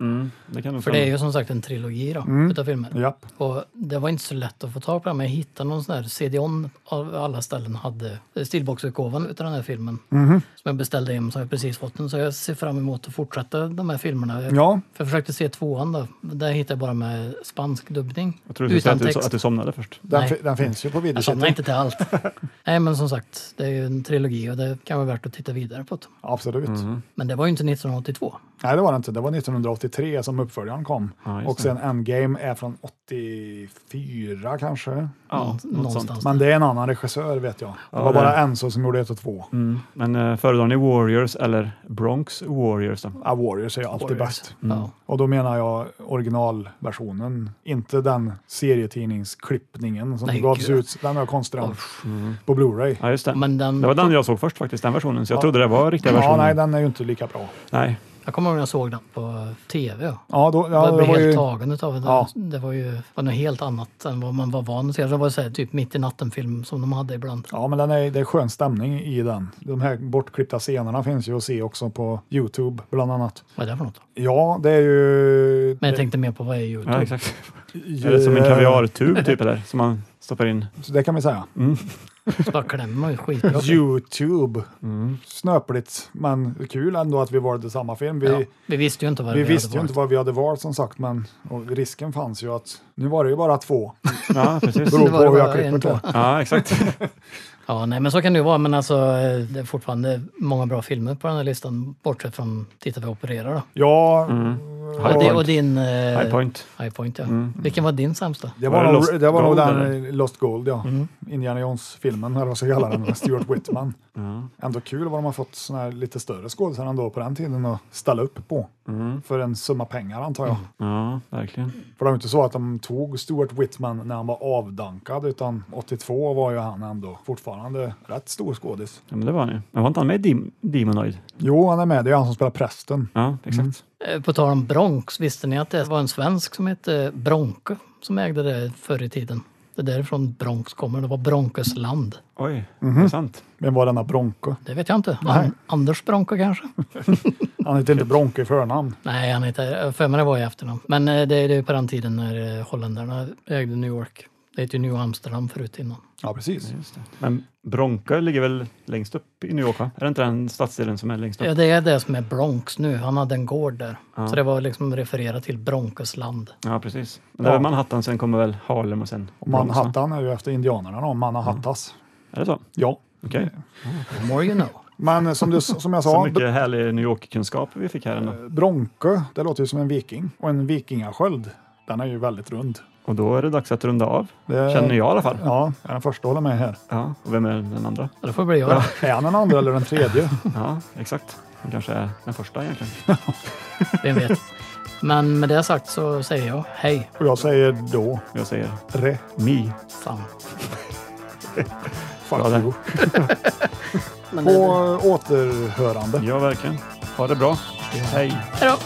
Speaker 3: För det är ju som sagt en trilogi då,
Speaker 2: Mm.
Speaker 3: utav filmer.
Speaker 2: Japp.
Speaker 3: Och det var inte så lätt att få tag på den, men jag hittade någon sån här CD-on av alla ställen hade stilboxutgåvan utav den här filmen.
Speaker 2: Mhm.
Speaker 3: Som jag beställde hem, som jag precis fått den. Så jag ser fram emot att fortsätta de här filmerna.
Speaker 2: Ja.
Speaker 3: För jag försökte se tvåan då, där hittade jag bara med spansk dubbning.
Speaker 4: Jag trodde du skulle säga att du- att du somnade först. Den
Speaker 3: Nej.
Speaker 4: fi- den finns ju på video-
Speaker 3: Jag somnade inte till allt. Nej, men som sagt, det är ju en trilogi och det kan vara värt att titta vidare på.
Speaker 2: Absolut.
Speaker 3: Mhm. Men det var ju inte 1982.
Speaker 2: Nej, det var det inte. Det var 1983 som uppföljaren kom.
Speaker 3: Ja, just
Speaker 2: och
Speaker 3: det.
Speaker 2: sen Endgame är från 84 kanske.
Speaker 4: Ja, något Någonstans sånt. där.
Speaker 2: Men det är en annan regissör vet jag. Det
Speaker 4: Ja,
Speaker 2: var
Speaker 4: det-
Speaker 2: bara Enzo som gjorde ett och två.
Speaker 4: Mm. Men eh, föredrar ni Warriors eller Bronx Warriors? Då?
Speaker 2: Ja, Warriors är alltid
Speaker 4: Warriors.
Speaker 2: bäst.
Speaker 4: Mm. Ja.
Speaker 2: Och då menar jag originalversionen, inte den serietidningsklippningen som
Speaker 4: Nej,
Speaker 2: gavs
Speaker 4: gud. Mm.
Speaker 2: ut. Den var konstig på Blu-ray.
Speaker 4: Ja, just det.
Speaker 3: Men den...
Speaker 4: Det var den jag såg först faktiskt, den versionen. Så jag
Speaker 2: Ja.
Speaker 4: trodde det var riktiga
Speaker 2: Ja,
Speaker 4: versionen.
Speaker 2: nej, den är ju inte lika bra.
Speaker 4: nej.
Speaker 3: Jag kommer ihåg när jag såg den på tv. Ja,
Speaker 2: Ja, då- ja,
Speaker 3: jag
Speaker 2: det
Speaker 3: blev
Speaker 2: var
Speaker 3: helt
Speaker 2: ju-
Speaker 3: tagen utav det.
Speaker 2: Ja.
Speaker 3: Det var ju var något helt annat än vad man var van att se. Det var så här, typ mitt i natten-film som de hade ibland.
Speaker 2: Ja, men den är, det är skön stämning i den. De här bortklippta scenerna finns ju att se också på Youtube bland annat.
Speaker 3: Vad är det för något?
Speaker 2: Ja, det är ju...
Speaker 3: Men jag tänkte mer på vad är Youtube?
Speaker 4: Ja, exakt. Är det som en kaviartub typ eller? Som man stoppar in?
Speaker 2: Så det kan vi säga.
Speaker 3: Så bara klämmer man ju skitbra.
Speaker 2: Youtube.
Speaker 4: Mm.
Speaker 2: Snöpligt, men kul ändå att vi valde samma film. Vi,
Speaker 3: Ja, vi visste ju inte vad
Speaker 2: vi
Speaker 3: vi hade
Speaker 2: visste ju inte
Speaker 3: valt.
Speaker 2: vad vi hade valt som sagt, men och risken fanns ju att nu var det ju bara två.
Speaker 4: Ja, precis.
Speaker 2: Beror
Speaker 4: Det
Speaker 2: på
Speaker 4: var det
Speaker 2: hur jag
Speaker 4: bara en
Speaker 2: klipper det.
Speaker 4: två. Ja, exakt.
Speaker 3: Ja, nej, men så kan det ju vara. Men alltså, eh, det är fortfarande många bra filmer på den här listan. Bortsett från Titta vi opererar då.
Speaker 2: Ja,
Speaker 3: Och, det, och din... eh,
Speaker 4: High Point.
Speaker 3: High Point, ja.
Speaker 2: Mm.
Speaker 3: Vilken var din sämsta?
Speaker 2: Det var, nog- det var nog
Speaker 4: Gold,
Speaker 2: den
Speaker 4: eller?
Speaker 2: eh, Lost Gold, ja.
Speaker 4: Mm.
Speaker 2: Indiana Jones-filmen, eller vad ska jag kalla den, med Stuart Whitman.
Speaker 4: Mm.
Speaker 2: Ändå kul vad de har fått såna här lite större skådisar ändå på den tiden att ställa upp på.
Speaker 4: Mm.
Speaker 2: För en summa pengar antar jag.
Speaker 4: Ja, verkligen.
Speaker 2: För det var inte så att de tog Stuart Whitman när han var avdankad, utan 82 var ju han ändå fortfarande rätt stor skådis.
Speaker 4: Ja, men det var ni. Men var inte han med i Dem- Demonoid?
Speaker 2: Jo, han är med. Det är han som spelar prästen.
Speaker 4: Ja, exakt.
Speaker 3: Eh, På tal om Bronx, visste ni att det var en svensk som hette Bronke som ägde det förr i tiden? Det är därifrån Bronx kommer. Det var Bronkes land.
Speaker 4: Oj, det är sant.
Speaker 2: Vem var denna Bronco?
Speaker 3: Det vet jag inte.
Speaker 2: Nej.
Speaker 3: An- Anders Bronke kanske?
Speaker 2: Han heter inte Bronco i förnamn.
Speaker 3: Nej, han heter... För mig det var i efternamn. Men eh, det är det är på den tiden när eh, holländarna ägde New York. Det hette ju New Amsterdam förut innan.
Speaker 2: Ja, precis.
Speaker 4: Men Bronco ligger väl längst upp i New York? Va? Är det inte den stadsdelen som är längst upp?
Speaker 3: Ja, det är det som är Bronx nu. Han hade en gård där.
Speaker 4: Ja.
Speaker 3: Så det var liksom refererat till Bronkes land.
Speaker 4: Ja, precis. Men det är
Speaker 2: Ja.
Speaker 4: väl Manhattan, sen kommer väl Harlem och sen
Speaker 2: Och
Speaker 4: Bronx, va?
Speaker 2: Manhattan är ju efter indianerna då, Manhattas.
Speaker 4: Är det så?
Speaker 2: Mm. Ja.
Speaker 4: Okej.
Speaker 2: Mm.
Speaker 3: The more you know.
Speaker 2: Men som, du, som jag sa,
Speaker 4: Så mycket härlig New York-kunskap vi fick här
Speaker 2: Eh.
Speaker 4: ändå.
Speaker 2: Bronke, det låter ju som en viking. Och en vikingasköld, den är ju väldigt rund.
Speaker 4: Och då är det dags att runda av.
Speaker 2: Det-
Speaker 4: Känner jag i alla fall.
Speaker 2: Ja, jag är den första att hålla med här.
Speaker 4: Ja. Och vem är den andra?
Speaker 3: Det får bli jag.
Speaker 2: Ja. Är han den andra eller den tredje?
Speaker 4: Ja, exakt. Han kanske är den första egentligen.
Speaker 3: Vem vet? Men med det sagt så säger jag hej.
Speaker 2: Och jag säger då,
Speaker 4: Jag säger
Speaker 2: re.
Speaker 4: Mi.
Speaker 3: Fan.
Speaker 2: Fuck
Speaker 4: Bra där.
Speaker 2: you.
Speaker 3: Men
Speaker 2: På
Speaker 3: det-
Speaker 2: återhörande.
Speaker 4: Ja, verkligen. Ha det bra. Hej.
Speaker 3: Hej då!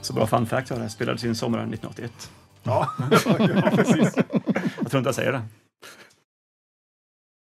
Speaker 4: Så bra fun fact var det. Spelades in sommaren 1981.
Speaker 2: Ja.
Speaker 4: Jag tror inte jag säger det.